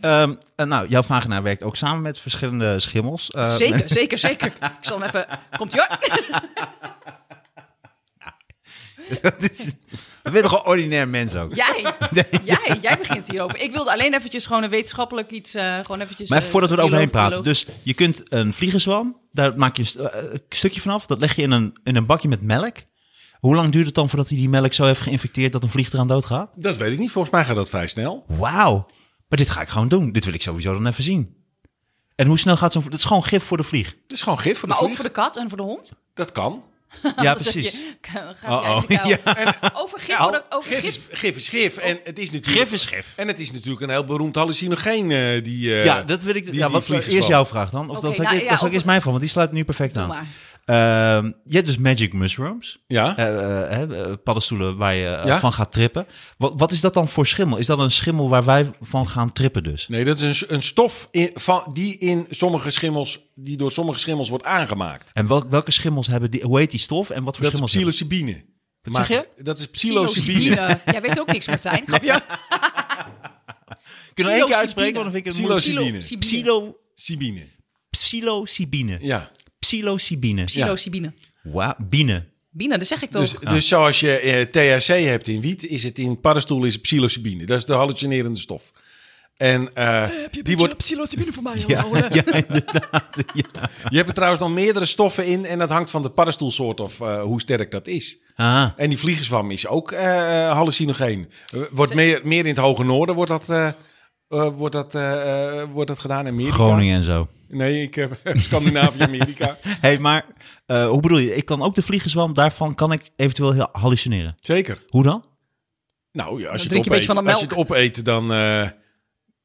Speaker 2: Ehm, eh, nou, jouw vagina werkt ook samen met verschillende schimmels. Eh,
Speaker 3: zeker, zeker, zeker. Ik zal hem even... Komt ie hoor.
Speaker 2: dat is- dat ben je toch een ordinair mens ook?
Speaker 3: Jij, jij, jij begint hierover. Ik wilde alleen eventjes gewoon een wetenschappelijk iets... eh, gewoon eventjes,
Speaker 2: Maar
Speaker 3: eh,
Speaker 2: voordat we
Speaker 3: biolo-
Speaker 2: eroverheen praten.
Speaker 3: biolo-
Speaker 2: Dus je kunt een vliegenzwam, daar maak je een st- eh, een stukje vanaf. Dat leg je in een, in een bakje met melk. Hoe lang duurt het dan voordat hij die melk zo heeft geïnfecteerd dat een vlieg eraan doodgaat?
Speaker 4: Dat weet ik niet. Volgens mij gaat dat vrij snel.
Speaker 2: Wauw. Maar dit ga ik gewoon doen. Dit wil ik sowieso dan even zien. En hoe snel gaat zo'n... Dat is gewoon gif voor de vlieg.
Speaker 4: Het is gewoon gif voor de
Speaker 3: Maar ook
Speaker 4: vlieg.
Speaker 3: voor de kat en voor de hond.
Speaker 4: Dat kan.
Speaker 2: Ja,
Speaker 3: Dan Oh, zeg je,
Speaker 2: precies.
Speaker 3: "K- Ga
Speaker 4: Oh,
Speaker 2: Uh-oh,
Speaker 3: jij in de kuil." Over gif,
Speaker 4: Nou,
Speaker 3: voor de- over
Speaker 4: gif,
Speaker 3: gif. Oh.
Speaker 4: is, gif is gif. En het is natuurlijk,
Speaker 2: Gif is gif.
Speaker 4: en het is natuurlijk een heel beroemd hallucinogeen. eh, die, eh,
Speaker 2: Ja, dat wil ik...
Speaker 4: die-
Speaker 2: ja,
Speaker 4: die
Speaker 2: wat
Speaker 4: vliegenzwam.
Speaker 2: eerst jouw vraag dan. Of
Speaker 3: Oké,
Speaker 2: dat zou ik,
Speaker 3: nou
Speaker 2: dat
Speaker 3: ja,
Speaker 2: zou ik
Speaker 3: of-
Speaker 2: eerst mijn van, want die sluit nu perfect
Speaker 3: Doe
Speaker 2: aan.
Speaker 3: maar.
Speaker 2: Ehm, je hebt dus magic mushrooms.
Speaker 4: Ja.
Speaker 2: Eh, eh, hè, eh, paddenstoelen waar je eh,
Speaker 4: Ja?
Speaker 2: van gaat trippen. Wat, wat is dat dan voor schimmel? Is dat een schimmel waar wij van gaan trippen dus?
Speaker 4: Nee, dat is een, een stof in, van, die, in sommige schimmels, die door sommige schimmels wordt aangemaakt.
Speaker 2: En welk, welke schimmels hebben die? Hoe heet die stof en wat voor
Speaker 4: Dat is
Speaker 2: schimmels? hebben-
Speaker 4: psilocybine.
Speaker 2: zeg je?
Speaker 4: Maakt- Dat is psilocybine.
Speaker 3: Jij weet ook niks, Martijn. Grapje.
Speaker 2: Kunnen we één keer
Speaker 3: psilocybine.
Speaker 2: uitspreken? Want dan vind ik het moeilijk.
Speaker 4: Psilocybine.
Speaker 3: Psilocybine.
Speaker 2: Psilo,
Speaker 4: Cybine.
Speaker 2: psilocybine.
Speaker 4: Ja.
Speaker 2: Psilocybine.
Speaker 3: Psilocybine.
Speaker 2: Wauw, bienen.
Speaker 3: Bine, dat zeg ik toch.
Speaker 4: Dus, dus zoals je eh, THC hebt in wiet, is het in paddenstoel is het psilocybine. Dat is de hallucinerende stof. En eh, die wordt,
Speaker 3: psilocybine voor mij.
Speaker 2: Ja, ja, inderdaad. Ja.
Speaker 4: je hebt er trouwens nog meerdere stoffen in en dat hangt van de paddenstoelsoort of eh, hoe sterk dat is.
Speaker 2: Ah,
Speaker 4: En die vliegenzwam is ook eh, hallucinogeen. Eh, Wordt meer, meer in het hoge noorden wordt dat, eh, eh, wordt dat, eh, eh, wordt dat gedaan. In Amerika.
Speaker 2: Groningen en zo.
Speaker 4: Nee, ik heb Scandinavië, Amerika.
Speaker 2: hey, maar eh, hoe bedoel je? Ik kan ook de vliegenzwam, daarvan kan ik eventueel heel hallucineren.
Speaker 4: Zeker.
Speaker 2: Hoe dan?
Speaker 4: Nou, ja, als je,
Speaker 3: drink
Speaker 4: het
Speaker 3: je een beetje van
Speaker 4: opeet,
Speaker 3: de
Speaker 4: als je het opeet, dan, eh,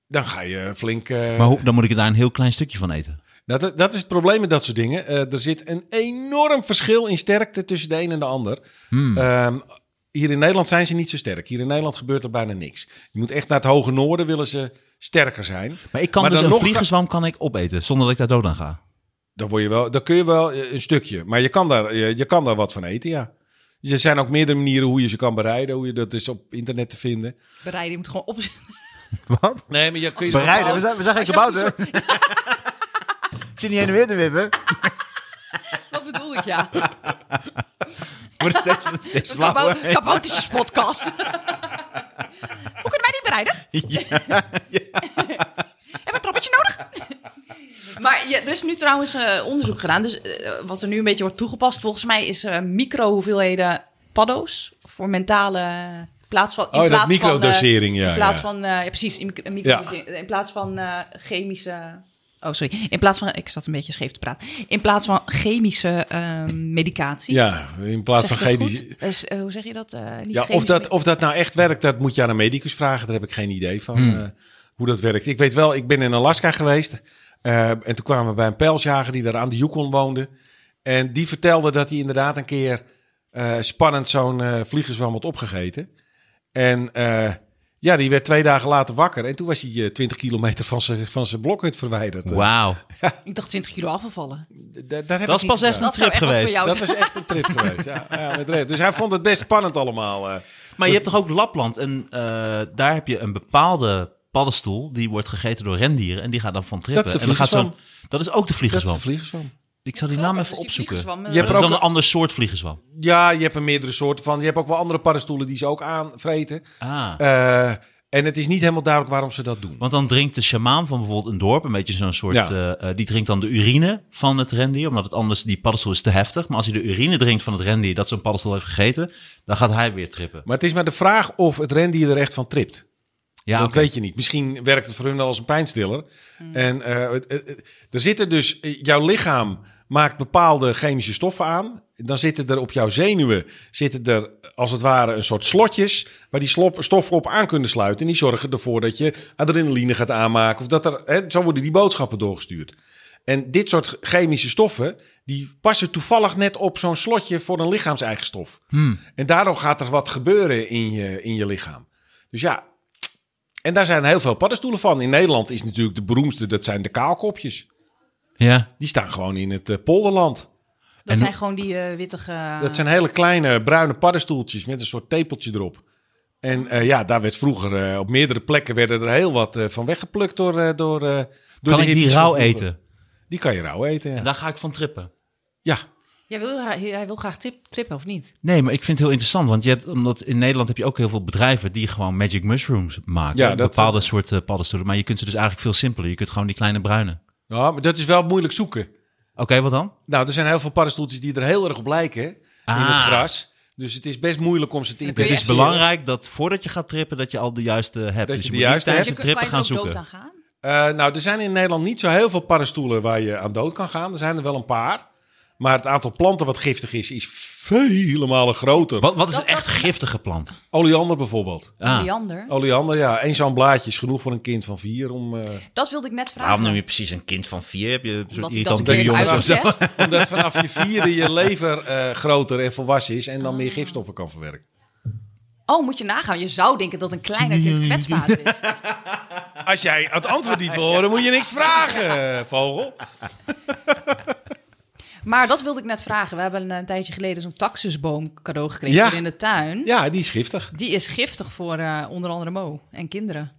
Speaker 4: dan ga je flink... eh,
Speaker 2: Maar hoe, dan moet ik er daar een heel klein stukje van eten.
Speaker 4: Nou, Dat, dat is het probleem met dat soort dingen. Eh, er zit een enorm verschil in sterkte tussen de een en de ander. Ehm, hier in Nederland zijn ze niet zo sterk. Hier in Nederland gebeurt er bijna niks. Je moet echt naar het hoge noorden willen ze sterker zijn.
Speaker 2: Maar ik kan
Speaker 4: Maar
Speaker 2: dus
Speaker 4: dan
Speaker 2: een
Speaker 4: nog-
Speaker 2: vliegenzwam kan ik opeten zonder dat ik daar dood aan ga.
Speaker 4: Dan, word je wel, dan kun je wel eh, een stukje. Maar je kan daar, je, je kan daar wat van eten, ja. Dus Er zijn ook meerdere manieren hoe je ze kan bereiden. Hoe je dat is op internet te vinden.
Speaker 3: Bereiden, je moet gewoon opzetten.
Speaker 2: Wat?
Speaker 4: Nee, maar je kun je...
Speaker 2: Bereiden, we zijn, we zijn geen kabouter. Ik zit niet heen en weer te wippen.
Speaker 3: Dat bedoel ik, ja.
Speaker 2: Wordt steeds, wordt steeds
Speaker 3: Zo'n
Speaker 2: flauwer.
Speaker 3: kabou- kaboutertjes podcast. Hoe kunnen wij die bereiden? Hebben we een trappetje nodig? maar ja, er is nu trouwens eh, onderzoek gedaan. Dus eh, wat er nu een beetje wordt toegepast, volgens mij is eh micro hoeveelheden paddo's voor mentale in plaats van in
Speaker 4: Oh, dat
Speaker 3: plaats van, eh,
Speaker 4: microdosering, ja,
Speaker 3: in plaats
Speaker 4: ja.
Speaker 3: van eh, ja precies in, in, microdosering. in plaats van eh, chemische oh sorry in plaats van ik zat een beetje scheef te praten in plaats van chemische ehm, medicatie
Speaker 4: Ja, in plaats van
Speaker 3: Zeg ik dat
Speaker 4: GD.
Speaker 3: goed? Eh, s- eh, hoe zeg je dat? Eh, niet
Speaker 4: Ja, of
Speaker 3: chemische
Speaker 4: dat, of dat nou echt werkt, dat moet je aan een medicus vragen. Daar heb ik geen idee van
Speaker 2: Hmm.
Speaker 4: eh, hoe dat werkt. Ik weet wel, ik ben in Alaska geweest. eh, en toen kwamen we bij een pijlsjager die daar aan de Yukon woonde. En die vertelde dat hij inderdaad een keer eh, spannend zo'n eh vliegenzwam had opgegeten. En eh, ja, die werd twee dagen later wakker. En toen was hij eh, 20 kilometer van zijn, van zijn blokhut verwijderd.
Speaker 2: Wauw.
Speaker 3: medic- Ik dacht 20 kilo afgevallen.
Speaker 4: Eh, da- daar heb
Speaker 2: Dat is
Speaker 4: ik niet
Speaker 2: pas echt
Speaker 4: gedaan.
Speaker 2: een
Speaker 3: Dat zou
Speaker 2: trip
Speaker 3: echt wat voor
Speaker 2: geweest.
Speaker 3: jou
Speaker 4: Dat was echt een trip geweest. Ja, ja, met recht. Dus hij vond het best spannend allemaal. eh.
Speaker 2: Maar je hebt toch ook Lapland en eh, daar heb je een bepaalde paddenstoel die wordt gegeten door rendieren en die gaat dan van trippen.
Speaker 4: Dat is de
Speaker 2: en dan gaat zo'n-
Speaker 4: vliegenzwam.
Speaker 2: Dat is ook de
Speaker 4: dat is
Speaker 2: vliegenzwam.
Speaker 4: de vliegenzwam.
Speaker 2: ik zal die naam
Speaker 3: Oh,
Speaker 2: even
Speaker 3: dus die
Speaker 2: opzoeken.
Speaker 3: vliegenzwam, eh,
Speaker 4: Je hebt
Speaker 2: Dat
Speaker 4: er
Speaker 2: is dan
Speaker 4: ook
Speaker 2: een
Speaker 4: een-
Speaker 2: ander soort vliegenzwam.
Speaker 4: Ja, je hebt er meerdere soorten van. Je hebt ook wel andere paddenstoelen die ze ook aanvreten.
Speaker 2: Ah.
Speaker 4: Eh, en het is niet helemaal duidelijk waarom ze dat doen.
Speaker 2: Want dan drinkt de sjamaan van bijvoorbeeld een dorp, een beetje zo'n soort,
Speaker 4: Ja.
Speaker 2: eh, eh, die drinkt dan de urine van het rendier, omdat het anders, die paddenstoel is te heftig. Maar als hij de urine drinkt van het rendier dat zo'n paddenstoel heeft gegeten, dan gaat hij weer trippen.
Speaker 4: Maar het is maar de vraag of het rendier er echt van tript.
Speaker 2: Ja,
Speaker 4: dat
Speaker 2: oké.
Speaker 4: weet je niet. Misschien werkt het voor hun al als een pijnstiller. En eh, het- het- het- er zitten dus, eh, jouw lichaam maakt bepaalde chemische stoffen aan. Dan zitten er op jouw zenuwen, zitten er als het ware een soort slotjes waar die slop, stoffen op aan kunnen sluiten. En die zorgen ervoor dat je adrenaline gaat aanmaken. Of dat er, hè, zo worden die boodschappen doorgestuurd. En dit soort chemische stoffen, die passen toevallig net op zo'n slotje voor een lichaams-eigen stof.
Speaker 2: Hmm.
Speaker 4: En daardoor gaat er wat gebeuren in je, in je lichaam. Dus ja, en daar zijn heel veel paddenstoelen van. In Nederland is natuurlijk de beroemdste, dat zijn de kaalkopjes.
Speaker 2: Ja.
Speaker 4: Die staan gewoon in het eh, polderland.
Speaker 3: Dat
Speaker 2: En-
Speaker 3: zijn gewoon die eh, wittige...
Speaker 4: Dat zijn hele kleine bruine paddenstoeltjes met een soort tepeltje erop. En eh, ja, daar werd vroeger eh, op meerdere plekken werden er heel wat eh, van weggeplukt door, eh, door, eh, door
Speaker 2: Kan
Speaker 4: de
Speaker 2: ik die
Speaker 4: hippies
Speaker 2: rauw
Speaker 4: van vroeger.
Speaker 2: eten?
Speaker 4: Die kan je rauw eten, ja.
Speaker 2: En daar ga ik van trippen.
Speaker 4: Ja,
Speaker 3: Jij wil, hij, hij wil graag tip, trippen, of niet?
Speaker 2: Nee, maar ik vind het heel interessant, want je hebt, omdat in Nederland heb je ook heel veel bedrijven die gewoon magic mushrooms maken.
Speaker 4: Ja, dat-
Speaker 2: bepaalde soorten paddenstoelen. Maar je kunt ze dus eigenlijk veel simpeler. Je kunt gewoon die kleine bruine.
Speaker 4: Ja, maar dat is wel moeilijk zoeken.
Speaker 2: Oké, wat dan?
Speaker 4: Nou, er zijn heel veel paddenstoeltjes die er heel erg op lijken in
Speaker 2: Ah.
Speaker 4: het gras. Dus het is best moeilijk om ze te
Speaker 3: Het
Speaker 2: Dus het is
Speaker 4: identificeren.
Speaker 2: belangrijk dat voordat je gaat trippen, dat je al de juiste hebt. dus
Speaker 4: je
Speaker 2: je
Speaker 4: de
Speaker 2: moet niet
Speaker 4: juiste
Speaker 2: tijdens
Speaker 4: hebt.
Speaker 2: het
Speaker 3: Je kunt-
Speaker 2: trippen
Speaker 3: kan
Speaker 2: gaan
Speaker 3: je er ook
Speaker 2: zoeken.
Speaker 3: dood aan gaan?
Speaker 4: Eh, nou, er zijn in Nederland niet zo heel veel paddenstoelen waar je aan dood kan gaan. Er zijn er wel een paar. Maar het aantal planten wat giftig is, is vele malen groter.
Speaker 2: Wat, wat is
Speaker 3: Dat-
Speaker 2: een echt
Speaker 3: dat-
Speaker 2: giftige plant?
Speaker 4: Oleander bijvoorbeeld.
Speaker 2: Ah,
Speaker 3: Leander.
Speaker 4: Oleander, ja. één zo'n blaadje is genoeg voor een kind van vier om, eh,
Speaker 3: Dat wilde ik net vragen.
Speaker 2: waarom noem je precies een kind van vier? Heb je een soort
Speaker 3: Omdat ik dat een
Speaker 2: irritante
Speaker 3: keer heb
Speaker 2: jongen?
Speaker 4: jongens.
Speaker 3: uitgetest.
Speaker 4: omdat vanaf je vierde je lever eh, groter en volwassen is en dan meer gifstoffen kan verwerken.
Speaker 3: Oh, moet je nagaan. Je zou denken dat een kleiner kind kwetsbaar is.
Speaker 4: Als jij het antwoord niet wil horen, moet je niks vragen, vogel.
Speaker 3: Maar dat wilde ik net vragen. We hebben een tijdje geleden zo'n taxusboom cadeau gekregen
Speaker 4: Ja.
Speaker 3: hier in de tuin.
Speaker 4: Ja, die is giftig.
Speaker 3: Die is giftig voor eh, onder andere Mo en kinderen.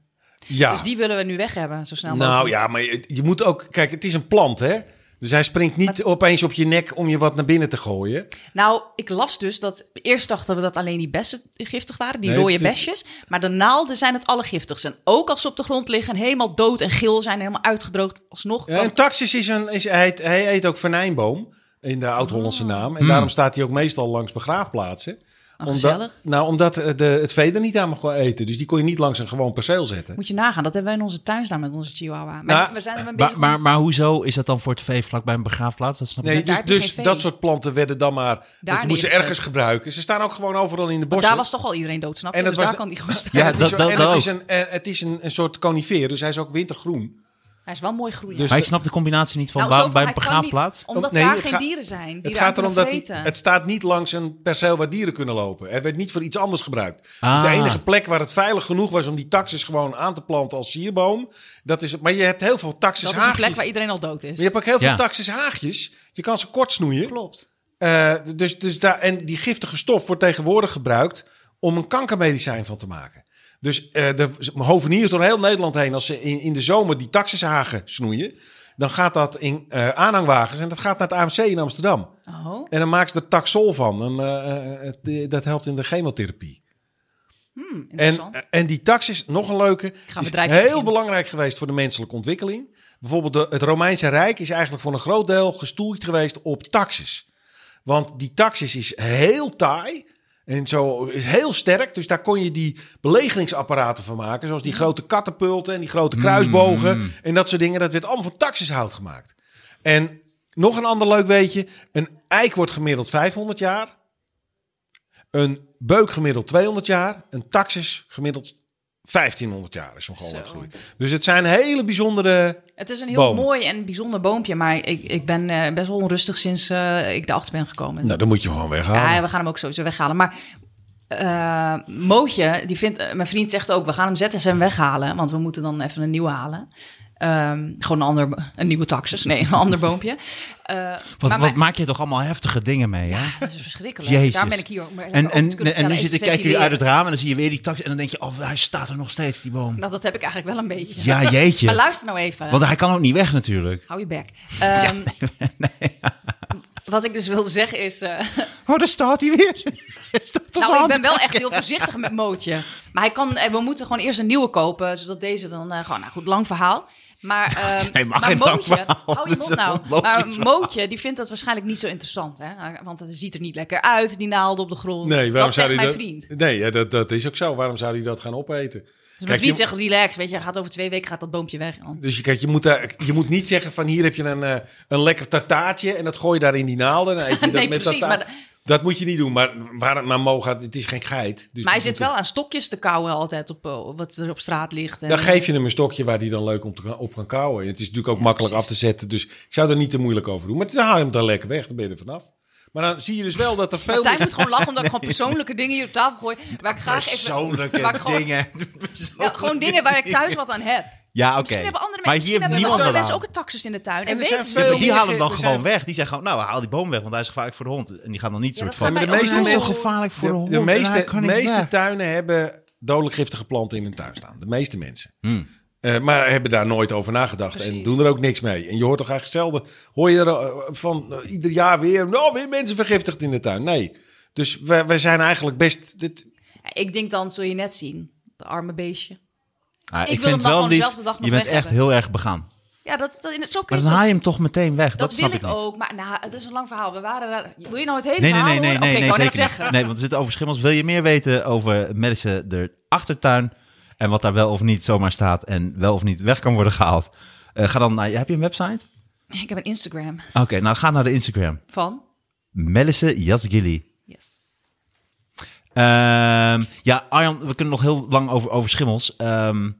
Speaker 4: Ja.
Speaker 3: Dus die willen we nu weg hebben, zo snel mogelijk.
Speaker 4: Nou ja, maar je, je moet ook... Kijk, het is een plant, hè? Dus hij springt niet opeens op je nek om je wat naar binnen te gooien.
Speaker 3: Nou, ik las dus dat... Eerst dachten we dat alleen die bessen giftig waren, die
Speaker 4: Nee,
Speaker 3: rode
Speaker 4: het is-
Speaker 3: besjes. Maar de naalden zijn het allergiftigste. En ook als ze op de grond liggen en helemaal dood en geel zijn, en helemaal uitgedroogd, alsnog...
Speaker 4: Ja,
Speaker 3: kan-
Speaker 4: een Eh, taxis is een... Is, hij, eet- hij eet ook venijnboom, in de Oud-Hollandse naam. En
Speaker 2: Hmm.
Speaker 4: daarom staat hij ook meestal langs begraafplaatsen.
Speaker 3: Oh,
Speaker 4: omdat,
Speaker 3: gezellig.
Speaker 4: nou, omdat eh, de, het vee er niet aan mag eten. Dus die kon je niet langs een gewoon perceel zetten.
Speaker 3: Moet je nagaan, dat hebben wij in onze tuin staan met onze chihuahua. Maar
Speaker 4: Nou,
Speaker 3: we zijn er mee bezig
Speaker 2: Maar,
Speaker 3: om-
Speaker 2: maar, maar hoezo is dat dan voor het vee vlakbij een begraafplaats? Dat snap ik
Speaker 4: Nee,
Speaker 2: niet.
Speaker 3: daar
Speaker 4: dus,
Speaker 3: heb je
Speaker 4: dus
Speaker 3: geen vee.
Speaker 4: dat soort planten werden dan maar... Dat
Speaker 3: neergezet.
Speaker 4: je moest ze ergens gebruiken. Ze staan ook gewoon overal in de
Speaker 3: Want
Speaker 4: bossen.
Speaker 3: daar was toch al iedereen dood, snap je?
Speaker 4: En dat
Speaker 3: dus
Speaker 4: was-
Speaker 3: daar kan die gewoon
Speaker 2: Ja,
Speaker 3: staan.
Speaker 4: En het is
Speaker 2: dat-
Speaker 4: zo-
Speaker 2: dat-
Speaker 4: en
Speaker 2: dat
Speaker 4: het is,
Speaker 2: ook.
Speaker 4: een, eh, het is een, een soort conifeer, dus hij is ook wintergroen.
Speaker 3: Hij is wel mooi groeiend.
Speaker 4: Dus
Speaker 2: Maar ik snap de combinatie niet van
Speaker 3: Nou,
Speaker 2: waarom
Speaker 3: zoveel-
Speaker 2: bij een
Speaker 3: hij kan
Speaker 2: begraafplaats.
Speaker 3: niet, omdat
Speaker 4: Nee,
Speaker 3: daar
Speaker 4: het
Speaker 3: geen
Speaker 4: ga-
Speaker 3: dieren zijn. Die
Speaker 4: Het gaat erom dat die-
Speaker 3: vreten.
Speaker 4: het staat niet langs een perceel waar dieren kunnen lopen. Het werd niet voor iets anders gebruikt.
Speaker 2: Ah.
Speaker 4: Dus de enige plek waar het veilig genoeg was om die taxis gewoon aan te planten als sierboom. Dat is, maar je hebt heel veel taxis
Speaker 3: dat is een
Speaker 4: haagjes.
Speaker 3: plek waar iedereen al dood is.
Speaker 4: Maar je hebt ook heel veel
Speaker 2: Ja.
Speaker 4: taxis haagjes. Je kan ze kort snoeien.
Speaker 3: Klopt.
Speaker 4: Eh, dus, dus daar, en die giftige stof wordt tegenwoordig gebruikt om een kankermedicijn van te maken. Dus eh de hoveniers door heel Nederland heen, als ze in, in de zomer die taxishagen snoeien, dan gaat dat in eh, aanhangwagens en dat gaat naar het AMC in Amsterdam.
Speaker 3: Oh.
Speaker 4: En dan maken ze er taxol van. En, eh, eh, het- eh, dat helpt in de chemotherapie.
Speaker 3: Hmm,
Speaker 4: En,
Speaker 3: interessant.
Speaker 4: eh, en die tax is nog een leuke.
Speaker 3: ga
Speaker 4: is heel
Speaker 3: bedrijven beginnen.
Speaker 4: belangrijk geweest voor de menselijke ontwikkeling. Bijvoorbeeld de, het Romeinse Rijk is eigenlijk voor een groot deel gestoeld geweest op taxes. Want die taxis is heel taai en zo is heel sterk. Dus daar kon je die belegeringsapparaten van maken. Zoals die grote katapulten en die grote kruisbogen
Speaker 2: Mm.
Speaker 4: en dat soort dingen. Dat werd allemaal van taxishout gemaakt. En nog een ander leuk weetje. Een eik wordt gemiddeld 500 jaar. Een beuk gemiddeld 200 jaar. Een taxis gemiddeld 1500 jaar is hem gewoon
Speaker 3: Zo.
Speaker 4: aan het groeien. Dus het zijn hele bijzondere...
Speaker 3: het is een heel
Speaker 4: boom.
Speaker 3: mooi en bijzonder boompje, maar ik, ik ben eh, best wel onrustig sinds eh, ik erachter ben gekomen.
Speaker 4: Nou, dan moet je hem gewoon weghalen.
Speaker 2: Ah.
Speaker 3: ja, we gaan hem ook sowieso weghalen. Maar eh, Mootje, die vindt, eh, mijn vriend zegt ook, we gaan hem zetten en weghalen, want we moeten dan even een nieuwe halen. Ehm, gewoon een ander, een nieuwe taxus. Nee, een ander boompje. Eh,
Speaker 2: Wat,
Speaker 3: maar
Speaker 2: wat
Speaker 3: mijn-
Speaker 2: maak je toch allemaal heftige dingen mee? Hè?
Speaker 3: ja, dat is verschrikkelijk.
Speaker 2: Jezus.
Speaker 3: Daar ben ik hier. om-
Speaker 2: En,
Speaker 3: over te
Speaker 2: en,
Speaker 3: kunnen
Speaker 2: en, en nu
Speaker 3: vertellen,
Speaker 2: zit
Speaker 3: even
Speaker 2: ik, kijk je uit het
Speaker 3: ventileren.
Speaker 2: raam en dan zie je weer die taxi. En dan denk je, oh, hij staat er nog steeds, die boom.
Speaker 3: Nou, dat heb ik eigenlijk wel een beetje.
Speaker 2: Ja, jeetje.
Speaker 3: Maar luister nou even.
Speaker 2: Want hij kan ook niet weg natuurlijk.
Speaker 3: Hou je bek. Ehm, Wat ik dus wilde zeggen is... eh,
Speaker 2: Oh, daar staat hij weer.
Speaker 3: nou, ik ben wel echt heel voorzichtig met Mootje. Maar hij kan, eh, we moeten gewoon eerst een nieuwe kopen, zodat deze dan eh, gewoon... Nou goed, lang verhaal. Maar, ehm,
Speaker 2: Nee, mag
Speaker 3: maar
Speaker 2: geen lang
Speaker 3: Mootje,
Speaker 2: verhaal.
Speaker 3: hou je
Speaker 2: Dat is
Speaker 3: mond nou.
Speaker 2: een logisch
Speaker 3: Maar
Speaker 2: verhaal.
Speaker 3: Mootje, die vindt dat waarschijnlijk niet zo interessant. Hè? Want het ziet er niet lekker uit, die naalden op de grond.
Speaker 4: Nee, waarom
Speaker 3: dat zegt
Speaker 4: zou hij
Speaker 3: mijn
Speaker 4: dat...
Speaker 3: vriend.
Speaker 4: Nee, ja, dat, dat is ook zo. Waarom zou hij dat gaan opeten?
Speaker 3: Dus
Speaker 4: Kijk,
Speaker 3: mijn vriend
Speaker 4: je-
Speaker 3: zegt, relax, weet je, gaat over twee weken gaat dat boompje weg. man.
Speaker 4: Dus je, kijk, je, moet daar, je moet niet zeggen van hier heb je een, eh, een lekker tartaartje en dat gooi je daar in die naalden. En dan eet je dat
Speaker 3: nee,
Speaker 4: met
Speaker 3: precies.
Speaker 4: tartaar.
Speaker 3: Maar
Speaker 4: Dat moet je niet doen, maar waar het maar mogen gaat, het is geen geit. Dus
Speaker 3: maar hij
Speaker 4: dat
Speaker 3: zit
Speaker 4: moet
Speaker 3: wel aan stokjes te kauwen altijd op eh, wat er op straat ligt. En,
Speaker 4: Dan geef je hem een stokje waar hij dan leuk om te, op kan kauwen. Het is natuurlijk ook
Speaker 3: Ehm, Ja,
Speaker 4: makkelijk
Speaker 3: precies.
Speaker 4: af te zetten. Dus ik zou er niet te moeilijk over doen. Maar dan haal je hem dan lekker weg. Dan ben je er vanaf. Maar dan zie je dus wel dat er veel...
Speaker 3: Martijn moet gewoon lachen omdat ik gewoon persoonlijke dingen hier op tafel gooi. Waar ik graag even...
Speaker 2: Persoonlijke
Speaker 3: waar ik gewoon-
Speaker 2: dingen.
Speaker 3: Ja, gewoon dingen waar ik thuis wat aan heb.
Speaker 2: Ja, oké.
Speaker 3: Misschien hebben andere
Speaker 2: maar
Speaker 3: mensen,
Speaker 2: hier heeft
Speaker 3: misschien
Speaker 2: niemand
Speaker 3: hebben
Speaker 2: wat
Speaker 3: mensen
Speaker 2: aan.
Speaker 3: ook een taxus in de tuin.
Speaker 4: En
Speaker 3: En,
Speaker 4: er
Speaker 3: weten
Speaker 4: zijn
Speaker 3: ze
Speaker 4: veel-
Speaker 2: Ja,
Speaker 3: niet.
Speaker 2: die halen hem dan
Speaker 4: Er
Speaker 2: gewoon
Speaker 4: zijn-
Speaker 2: weg. Die zeggen gewoon, nou, haal die boom weg, want hij is gevaarlijk voor de hond. En die gaan dan niet
Speaker 1: Ja, dat
Speaker 2: soort van...
Speaker 1: gaat
Speaker 4: bij de meeste
Speaker 2: hij is zo
Speaker 4: mensen-
Speaker 2: gevaarlijk voor de,
Speaker 4: De,
Speaker 2: hond.
Speaker 4: de
Speaker 2: en hij
Speaker 4: meeste,
Speaker 2: kan niet
Speaker 4: meeste
Speaker 2: weg.
Speaker 4: tuinen hebben dodelijk giftige planten in hun tuin staan. De meeste mensen.
Speaker 2: Hmm.
Speaker 4: Eh, maar hebben daar nooit over nagedacht en
Speaker 3: Precies.
Speaker 4: doen er ook niks mee. En je hoort toch eigenlijk zelden, hoor je er eh, van eh, ieder jaar weer, nou weer mensen vergiftigd in de tuin. Nee, dus wij, wij zijn eigenlijk best, dit,
Speaker 3: Ja, Ik denk dan, zul je net zien, de arme beestje.
Speaker 2: Ah,
Speaker 3: Ik
Speaker 2: ik
Speaker 3: wil
Speaker 2: vind
Speaker 3: hem
Speaker 2: het
Speaker 3: dan
Speaker 2: wel
Speaker 3: gewoon
Speaker 2: lief,
Speaker 3: dezelfde dag nog
Speaker 2: je bent
Speaker 3: weg
Speaker 2: echt
Speaker 3: hebben.
Speaker 2: heel erg begaan.
Speaker 3: Ja, dat, dat, zo kun
Speaker 2: Maar
Speaker 3: je
Speaker 2: dan
Speaker 3: toch-
Speaker 2: haal je hem toch meteen weg. Dat,
Speaker 3: Dat
Speaker 2: snap
Speaker 3: wil ik
Speaker 2: niet.
Speaker 3: ook, maar nou, het is een lang verhaal. We waren daar... Wil je nou het hele
Speaker 2: Nee, nee,
Speaker 3: verhaal
Speaker 2: nee, nee,
Speaker 3: horen? Oké,
Speaker 2: nee, nee
Speaker 3: ik wou net
Speaker 2: zeker niet.
Speaker 3: zeggen.
Speaker 2: Nee, want we zitten over schimmels. Wil je meer weten over Madison de achtertuin en wat daar wel of niet zomaar staat en wel of niet weg kan worden gehaald? Eh, ga dan naar, heb je een website?
Speaker 3: Ik heb een Instagram
Speaker 2: Oké, nou ga naar de Instagram.
Speaker 3: van...
Speaker 2: Melisse Jasgili.
Speaker 3: Yes.
Speaker 2: Ehm, ja, Arjan, we kunnen nog heel lang over, over schimmels. Ehm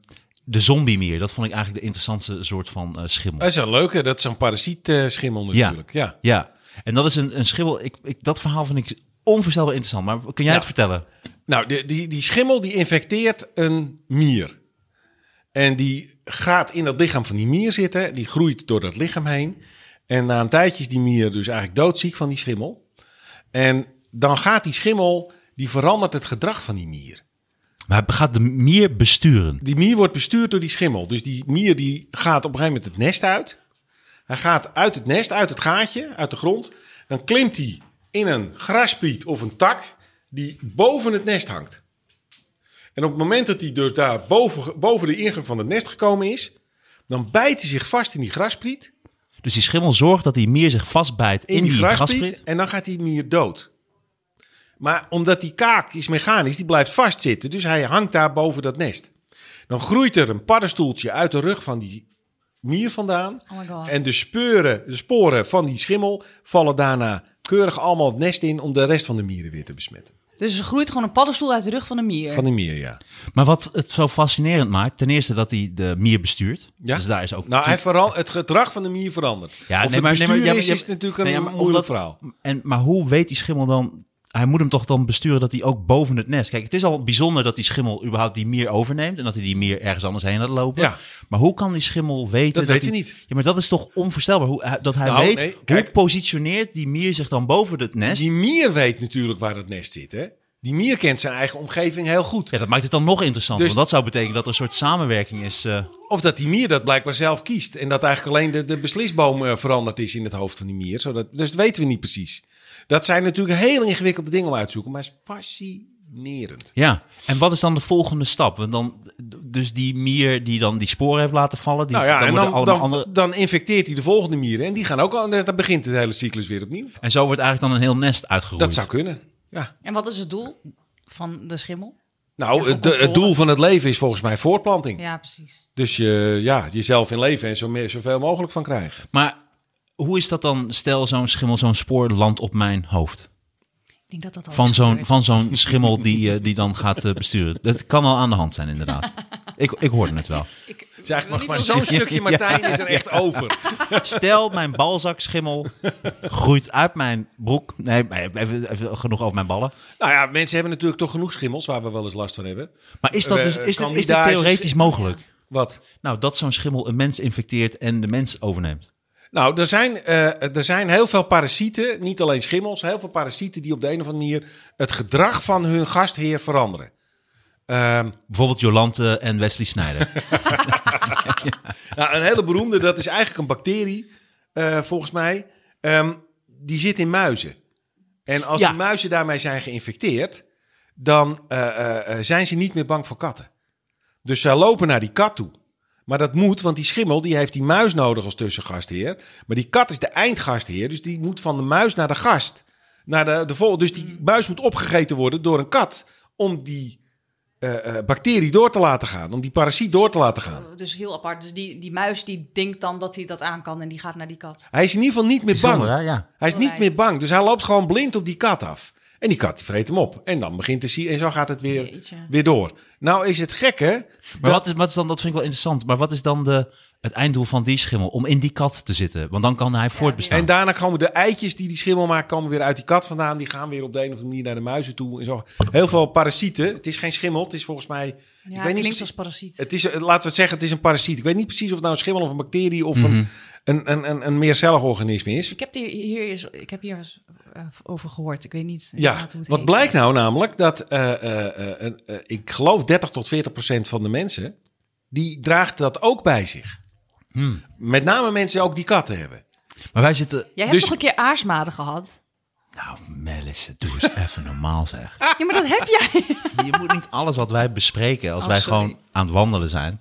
Speaker 2: de zombiemier, dat vond ik eigenlijk de interessantste soort van eh, schimmel.
Speaker 4: dat is wel leuk hè, dat is zo'n parasietschimmel
Speaker 2: Ja.
Speaker 4: natuurlijk. Ja.
Speaker 2: Ja, en dat is een, een schimmel. Ik, ik, dat verhaal vind ik onvoorstelbaar interessant. Maar kun jij
Speaker 4: Ja.
Speaker 2: het vertellen?
Speaker 4: Nou, die, die, die schimmel die infecteert een mier. En die gaat in dat lichaam van die mier zitten. Die groeit door dat lichaam heen. En na een tijdje is die mier dus eigenlijk doodziek van die schimmel. En dan gaat die schimmel, die verandert het gedrag van die mier.
Speaker 2: Maar hij gaat de mier besturen.
Speaker 4: Ehm, Die mier wordt bestuurd door die schimmel. Dus die mier die gaat op een gegeven moment het nest uit. Hij gaat uit het nest, uit het gaatje, uit de grond. Dan klimt hij in een graspiet of een tak die boven het nest hangt. En op het moment dat hij dus daar boven, boven de ingang van het nest gekomen is... dan bijt hij zich vast in die graspiet.
Speaker 2: Dus die schimmel zorgt dat die mier zich vastbijt in, die,
Speaker 4: graspiet,
Speaker 2: grasprit.
Speaker 4: En dan gaat die mier dood. Maar omdat die kaak is mechanisch, die blijft vastzitten. Dus hij hangt daar boven dat nest. Dan groeit er een paddenstoeltje uit de rug van die mier vandaan.
Speaker 3: Oh my god.
Speaker 4: En de, speuren, de sporen van die schimmel vallen daarna keurig allemaal het nest in... om de rest van de mieren weer te besmetten.
Speaker 3: Dus er groeit gewoon een paddenstoel uit de rug van een mier.
Speaker 4: Van die mier, ja.
Speaker 2: Maar wat het zo fascinerend maakt, ten eerste dat hij de mier bestuurt.
Speaker 4: Ja.
Speaker 2: Dus daar is ook...
Speaker 4: Nou, hij veran- het gedrag van de mier verandert.
Speaker 2: Ja,
Speaker 4: of
Speaker 2: nee,
Speaker 4: het
Speaker 2: maar- nee,
Speaker 4: bestuur
Speaker 2: maar- ja, maar-
Speaker 4: is,
Speaker 2: ja,
Speaker 4: is natuurlijk een
Speaker 2: nee, ja, maar
Speaker 4: moeilijk
Speaker 2: omdat-
Speaker 4: verhaal.
Speaker 2: En, maar hoe weet die schimmel dan... Hij moet hem toch dan besturen dat hij ook boven het nest... Kijk, het is al bijzonder dat die schimmel überhaupt die mier overneemt... en dat hij die mier ergens anders heen laat lopen.
Speaker 4: Ja.
Speaker 2: Maar hoe kan die schimmel weten...
Speaker 4: Dat weet
Speaker 2: hij-
Speaker 4: hij niet.
Speaker 2: Ja, maar dat is toch onvoorstelbaar. Hoe, hij- dat hij
Speaker 4: Nou,
Speaker 2: weet,
Speaker 4: nee,
Speaker 2: hoe
Speaker 4: kijk.
Speaker 2: positioneert die mier zich dan boven het nest?
Speaker 4: Die mier weet natuurlijk waar dat nest zit, hè. Die mier kent zijn eigen omgeving heel goed.
Speaker 2: Ja, dat maakt het dan nog interessanter.
Speaker 4: Dus-
Speaker 2: want dat zou betekenen dat er een soort samenwerking is... eh,
Speaker 4: Of dat die mier dat blijkbaar zelf kiest. En dat eigenlijk alleen de, de beslisboom eh, veranderd is in het hoofd van die mier. Zodat, dus dat weten we niet precies. Dat zijn natuurlijk heel ingewikkelde dingen om uit te zoeken. Maar het is fascinerend.
Speaker 2: Ja, en wat is dan de volgende stap? Want dan, dus die mier die dan die sporen heeft laten vallen, die,
Speaker 4: nou ja,
Speaker 2: dan
Speaker 4: en
Speaker 2: worden
Speaker 4: dan,
Speaker 2: allemaal
Speaker 4: dan,
Speaker 2: andere...
Speaker 4: dan infecteert hij de volgende mieren. En die gaan ook al. Dan begint de hele cyclus weer opnieuw.
Speaker 2: En zo wordt eigenlijk dan een heel nest uitgeroeid.
Speaker 4: Dat zou kunnen. Ja.
Speaker 3: En wat is het doel van de schimmel? Ja,
Speaker 4: Nou,
Speaker 3: gewoon
Speaker 4: het, de- het
Speaker 3: controle.
Speaker 4: doel van het leven is volgens mij voortplanting.
Speaker 3: Ja, precies.
Speaker 4: Dus je, ja, jezelf in leven en zo meer, zoveel mogelijk van krijgen.
Speaker 2: Maar hoe is dat dan, stel zo'n schimmel, zo'n spoor landt op mijn hoofd?
Speaker 3: Ik denk dat dat al
Speaker 2: Van
Speaker 3: is
Speaker 2: zo'n,
Speaker 3: gebeurd.
Speaker 2: van zo'n schimmel die, eh, die dan gaat eh, besturen. Dat kan al aan de hand zijn, inderdaad. Ik, ik hoorde het wel.
Speaker 3: Ik,
Speaker 4: Dus eigenlijk
Speaker 3: Ik
Speaker 4: mag maar
Speaker 3: wil
Speaker 4: zo'n
Speaker 3: niet
Speaker 4: stukje Martijn is er echt over.
Speaker 2: Stel, mijn balzakschimmel groeit uit mijn broek. Nee, even, even genoeg over mijn ballen.
Speaker 4: Nou ja, mensen hebben natuurlijk toch genoeg schimmels waar we wel eens last van hebben.
Speaker 2: Maar is dat,
Speaker 4: Eh,
Speaker 2: dus, is dit,
Speaker 4: kan
Speaker 2: is
Speaker 4: die
Speaker 2: dit
Speaker 4: daar-
Speaker 2: theoretisch mogelijk?
Speaker 4: Wat?
Speaker 2: Nou, dat zo'n schimmel een mens infecteert en de mens overneemt.
Speaker 4: Nou, er zijn, eh, er zijn heel veel parasieten, niet alleen schimmels, heel veel parasieten die op de een of andere manier het gedrag van hun gastheer veranderen. Ehm,
Speaker 2: Bijvoorbeeld Jolante en Wesley Snijder.
Speaker 4: nou, een hele beroemde, dat is eigenlijk een bacterie, eh, volgens mij. Ehm, die zit in muizen. En als
Speaker 2: Ja.
Speaker 4: die muizen daarmee zijn geïnfecteerd, dan eh, eh, eh, zijn ze niet meer bang voor katten. Dus zij lopen naar die kat toe. Maar dat moet, want die schimmel die heeft die muis nodig als tussengastheer. Maar die kat is de eindgastheer, dus die moet van de muis naar de gast. Naar de, de vol dus die muis moet opgegeten worden door een kat om die eh, eh, bacterie door te laten gaan. Om die parasiet door te laten gaan.
Speaker 3: Dus heel apart. Dus die, die muis die denkt dan dat hij dat aan kan en die gaat naar die kat.
Speaker 4: Hij is in ieder geval niet meer
Speaker 2: Bijzonder,
Speaker 4: bang.
Speaker 2: hè? Ja.
Speaker 4: Hij is
Speaker 3: Heel
Speaker 4: niet meer bang. Dus hij loopt gewoon blind op die kat af. En die kat die vreet hem op. En dan begint te zien. En zo gaat het weer,
Speaker 3: Jeetje.
Speaker 4: weer door. Nou is het gekke.
Speaker 2: Maar wat is, wat is dan, dat vind ik wel interessant, maar wat is dan de, het einddoel van die schimmel? Om in die kat te zitten, want dan kan hij voortbestaan.
Speaker 4: En daarna komen de eitjes die die schimmel maakt, komen weer uit die kat vandaan. Die gaan weer op de een of andere manier naar de muizen toe. En zo. Heel veel parasieten. Het is geen schimmel. Het is volgens mij.
Speaker 3: Ja,
Speaker 4: niet
Speaker 3: klinkt
Speaker 4: precies-
Speaker 3: als parasiet.
Speaker 4: Het is, eh, laten we het zeggen, het is een parasiet. Ik weet niet precies of het nou een schimmel of een bacterie
Speaker 2: Mhm.
Speaker 4: of een, een, een, een, een meercellig organisme is.
Speaker 3: Ik heb hier, hier, eens- ik heb hier eens eh, over gehoord. Ik weet niet inderdaad
Speaker 4: Ja,
Speaker 3: hoe het
Speaker 4: wat
Speaker 3: heet.
Speaker 4: blijkt nou namelijk dat, eh, eh, eh, een- eh, ik geloof 30 tot 40 procent van de mensen, die draagt dat ook bij zich.
Speaker 2: Hmm.
Speaker 4: Met name mensen die ook die katten hebben.
Speaker 2: Maar wij zitten...
Speaker 3: Jij
Speaker 4: Dus-
Speaker 3: hebt nog een keer aarsmaden gehad.
Speaker 2: Nou, Melissa, doe eens even normaal zeg.
Speaker 3: Ja, maar dat heb jij.
Speaker 2: Je moet niet alles wat wij bespreken, als
Speaker 3: Oh,
Speaker 2: wij
Speaker 3: sorry.
Speaker 2: gewoon aan het wandelen zijn.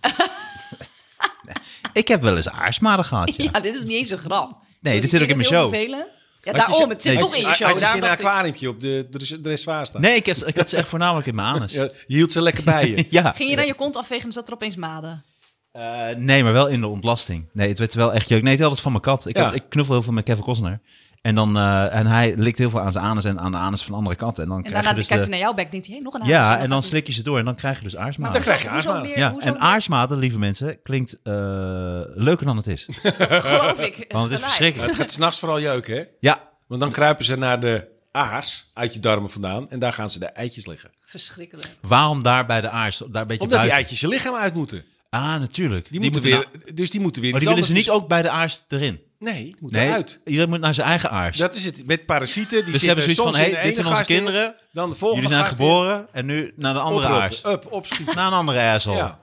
Speaker 2: Nee, ik heb wel eens aarsmaden gehad, ja.
Speaker 3: Ja, dit is niet eens een grap.
Speaker 2: Nee, dit zit ook in mijn show.
Speaker 3: Vervelen? Ja,
Speaker 2: je
Speaker 3: daarom.
Speaker 2: zin-
Speaker 3: Het zit
Speaker 2: nee,
Speaker 3: toch in je show.
Speaker 4: Had je
Speaker 3: Daarom
Speaker 4: in een
Speaker 3: dacht ik-
Speaker 4: aquariumpje op de dres- dressoir staan.
Speaker 2: Nee, ik, heb, ik had ze echt voornamelijk in mijn anus.
Speaker 4: Ja, je hield ze lekker bij je.
Speaker 2: Ja.
Speaker 3: Ging je dan je kont afvegen en zat er opeens maden?
Speaker 2: Eh, nee, maar wel in de ontlasting. Nee, het werd wel echt jeuk. Nee, het had het van mijn kat. Ik,
Speaker 4: Ja.
Speaker 2: had- ik knuffel heel veel met Kevin Costner. En, dan, eh, en hij likt heel veel aan zijn anus en aan de anus van andere katten. En dan
Speaker 3: En
Speaker 2: krijg
Speaker 3: daarna
Speaker 2: je dus
Speaker 3: kijkt hij
Speaker 2: de-
Speaker 3: naar jouw bek denkt hij, hé, nog een
Speaker 2: Ja, en dan slik je ze door en dan krijg je dus
Speaker 3: Oh,
Speaker 2: aarsmaten.
Speaker 4: Dan krijg je aarsmaden.
Speaker 2: Ja, en aarsmaten, lieve mensen, klinkt eh, leuker dan het is.
Speaker 3: geloof ik.
Speaker 2: Want het is
Speaker 3: Gelijk.
Speaker 4: Maar
Speaker 2: verschrikkelijk.
Speaker 4: het gaat s'nachts vooral jeuken, hè?
Speaker 2: Ja,
Speaker 4: Want dan kruipen ze naar de aars uit je darmen vandaan. En daar gaan ze de eitjes liggen.
Speaker 3: Verschrikkelijk.
Speaker 2: waarom daar bij de aars? Daar een beetje
Speaker 4: Omdat die
Speaker 2: buiten.
Speaker 4: eitjes je lichaam uit moeten. Die,
Speaker 2: Ah, natuurlijk. Die,
Speaker 4: moeten,
Speaker 2: naar-
Speaker 4: weer, dus die moeten weer
Speaker 2: Maar die willen
Speaker 4: iets
Speaker 2: ze niet
Speaker 4: anders
Speaker 2: ook bij de aars erin.
Speaker 4: bes- dus- Nee, die moeten
Speaker 2: Nee,
Speaker 4: uit.
Speaker 2: iedereen moet naar zijn eigen aars.
Speaker 4: Dat is het. Met
Speaker 2: Dus
Speaker 4: parasieten. Die
Speaker 2: ze
Speaker 4: zitten
Speaker 2: hebben zoiets
Speaker 4: soms
Speaker 2: van,
Speaker 4: in
Speaker 2: hé,
Speaker 4: de
Speaker 2: dit
Speaker 4: ene
Speaker 2: zijn onze
Speaker 4: gast in,
Speaker 2: kinderen.
Speaker 4: Dan de volgende
Speaker 2: Jullie zijn
Speaker 4: gast in.
Speaker 2: geboren en nu naar de Nou. andere
Speaker 4: Oprotten.
Speaker 2: aars.
Speaker 4: Up, opschieten.
Speaker 2: Naar een andere aars al.
Speaker 4: Ja.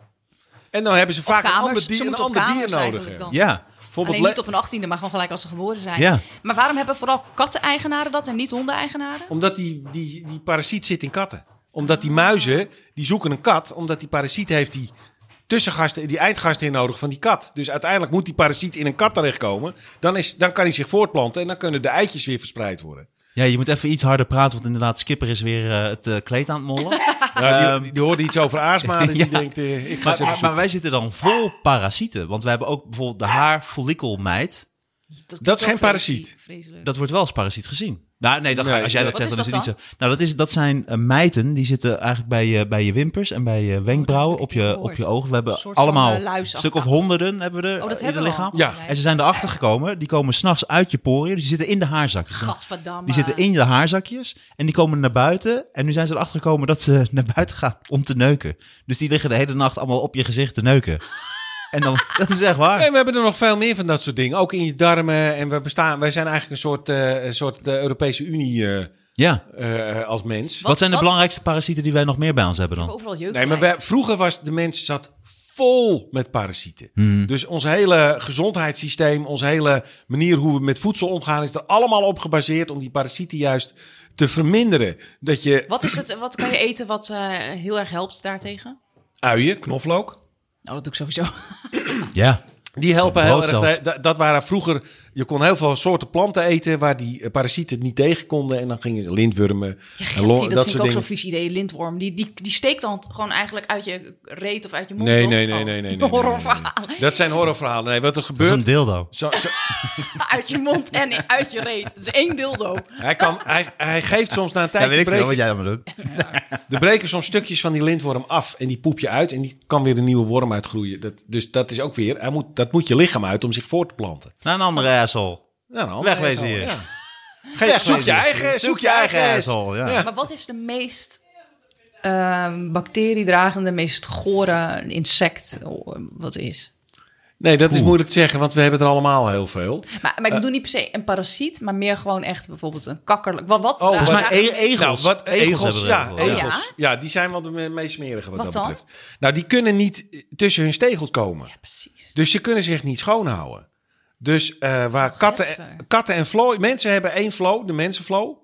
Speaker 4: En dan hebben ze vaak
Speaker 3: kamers.
Speaker 4: een ander dier,
Speaker 3: Ze
Speaker 4: een
Speaker 3: moeten op
Speaker 4: ander dier
Speaker 3: kamers
Speaker 4: nodig.
Speaker 3: eigenlijk
Speaker 4: hè.
Speaker 3: dan.
Speaker 2: Ja.
Speaker 4: Bijvoorbeeld
Speaker 3: Alleen niet
Speaker 4: le-
Speaker 3: op een achttiende, maar gewoon gelijk als ze geboren zijn.
Speaker 2: Ja.
Speaker 3: Maar waarom hebben vooral katten-eigenaren dat en niet honden-eigenaren?
Speaker 4: Omdat die, die, die parasiet zit in katten. Omdat die muizen, die zoeken een kat. Omdat die parasiet heeft die tussengasten, die eindgasten in nodig van die kat. Dus uiteindelijk moet die parasiet in een kat terechtkomen. Dan, is, dan kan hij zich voortplanten en dan kunnen de eitjes weer verspreid worden.
Speaker 2: ja, je moet even iets harder praten, want inderdaad, Skipper is weer eh, het eh, kleed aan het mollen.
Speaker 4: Nou, die, die hoorde iets over aarsmaden en die
Speaker 2: Ehm. Ja.
Speaker 4: denkt, eh, ik
Speaker 2: maar,
Speaker 4: ga ze even
Speaker 2: maar,
Speaker 4: zoeken.
Speaker 2: wij zitten dan vol parasieten, want we hebben ook bijvoorbeeld de haarfollikelmeid.
Speaker 3: klinkt
Speaker 4: Dat is
Speaker 3: ook
Speaker 4: geen
Speaker 3: vreselijk-
Speaker 4: parasiet.
Speaker 3: Vreselijk.
Speaker 2: Dat wordt wel als parasiet gezien. Nou, nee, dat ga-
Speaker 4: Nee,
Speaker 2: als jij
Speaker 4: nee.
Speaker 2: dat zegt, dan
Speaker 3: Wat is
Speaker 2: is het
Speaker 3: dat
Speaker 2: niet zo. Nou, dat, is, dat zijn eh, mijten, die zitten eigenlijk bij je, bij je wimpers en bij je wenkbrauwen,
Speaker 3: Oh, heb ik
Speaker 2: op,
Speaker 3: niet
Speaker 2: je,
Speaker 3: gehoord.
Speaker 2: op je ogen. We hebben
Speaker 3: Een soort van,
Speaker 2: allemaal
Speaker 3: eh,
Speaker 2: een
Speaker 3: luisachtig.
Speaker 2: stuk of honderden hebben we er eh,
Speaker 3: Oh, dat
Speaker 2: in het
Speaker 3: hebben we
Speaker 2: lichaam.
Speaker 3: al.
Speaker 4: Ja.
Speaker 3: Nee.
Speaker 2: En ze zijn erachter gekomen, die komen s'nachts uit je poriën, die zitten in de haarzak. Dus dan-
Speaker 3: Gadverdamme.
Speaker 2: Die zitten in je haarzakjes en die komen naar buiten. En nu zijn ze erachter gekomen dat ze naar buiten gaan om te neuken. Dus die liggen de hele nacht allemaal op je gezicht te neuken. En dan, dat is echt waar.
Speaker 4: Nee, we hebben er nog veel meer van dat soort dingen. Ook in je darmen. En we bestaan, wij zijn eigenlijk een soort, eh, een soort eh, Europese Unie eh,
Speaker 2: Ja.
Speaker 4: eh, als mens.
Speaker 2: Wat, zijn de belangrijkste parasieten die wij nog meer bij ons hebben dan?
Speaker 3: Overal jeuk.
Speaker 4: Nee, maar wij- vroeger was de mens zat vol met parasieten. Dus ons hele gezondheidssysteem, onze hele manier hoe we met voedsel omgaan, is er allemaal op gebaseerd om die parasieten juist te verminderen. Dat je
Speaker 3: Wat, is het, wat kan je eten wat eh, heel erg helpt daartegen?
Speaker 4: uien, knoflook,
Speaker 3: Nou, dat doe ik sowieso.
Speaker 2: Ja.
Speaker 4: die helpen heel
Speaker 2: Brood
Speaker 4: erg.
Speaker 2: zelfs.
Speaker 4: Da- Dat waren vroeger, je kon heel veel soorten planten eten waar die eh, parasieten het niet tegen konden. En dan gingen ze lindwurmen,
Speaker 3: Ja,
Speaker 4: en
Speaker 3: Gertsie,
Speaker 4: lo-
Speaker 3: dat, vind ik ook zo'n
Speaker 4: dingen.
Speaker 3: vies idee. Lindworm, die, die, die steekt dan gewoon eigenlijk uit je reet of uit je mond.
Speaker 4: Nee,
Speaker 3: toch?
Speaker 4: nee, nee,
Speaker 3: Oh,
Speaker 4: nee, nee, nee.
Speaker 3: Horrorverhaal.
Speaker 4: Dat zijn horrorverhalen. Nee, wat er
Speaker 2: Dat is
Speaker 4: gebeurt.
Speaker 2: een dildo.
Speaker 4: Zo, zo,
Speaker 3: Uit je mond en uit je reet. Het is één dildo.
Speaker 4: hij, kan, hij, hij geeft soms na een tijdje breken-
Speaker 2: jij allemaal doet.
Speaker 4: Er breken soms stukjes van die lintworm af en die poep je uit en die kan weer een nieuwe worm uitgroeien. Dat, dus dat is ook weer, hij moet, dat moet je lichaam uit om zich voor te planten.
Speaker 2: Naar Nou, een andere asshol.
Speaker 4: Nou, nou,
Speaker 2: Wegwezen
Speaker 4: ja.
Speaker 2: hier.
Speaker 4: Ja. Geen- zoek je eigen, zoek je eigen asshole.
Speaker 2: asshole. Ja.
Speaker 4: Ja.
Speaker 3: Maar wat is de meest ehm, bacteriedragende, meest gore insect oh, wat er is?
Speaker 4: Nee, dat is
Speaker 2: Oeh.
Speaker 4: moeilijk te zeggen, want we hebben er allemaal heel veel.
Speaker 3: Maar, maar ik
Speaker 4: Eh.
Speaker 3: bedoel niet per se een parasiet, maar meer gewoon echt bijvoorbeeld een kakkerlijk. Wat, wat, draagt-
Speaker 2: Volgens mij
Speaker 3: draagt-
Speaker 2: e- egels.
Speaker 4: Oh, Nou, wat, egels, ja,
Speaker 2: hebben we er heel veel.
Speaker 4: egels. Ja. die zijn wel de me- meest smerige wat,
Speaker 3: Wat
Speaker 4: dat
Speaker 3: dan?
Speaker 4: betreft. Nou, die kunnen niet eh, tussen hun stegels komen.
Speaker 3: Precies.
Speaker 4: Dus ze kunnen zich niet schoonhouden. Dus eh, waar katten,
Speaker 3: Getver.
Speaker 4: katten en flow... Mensen hebben één flow, de mensenflow.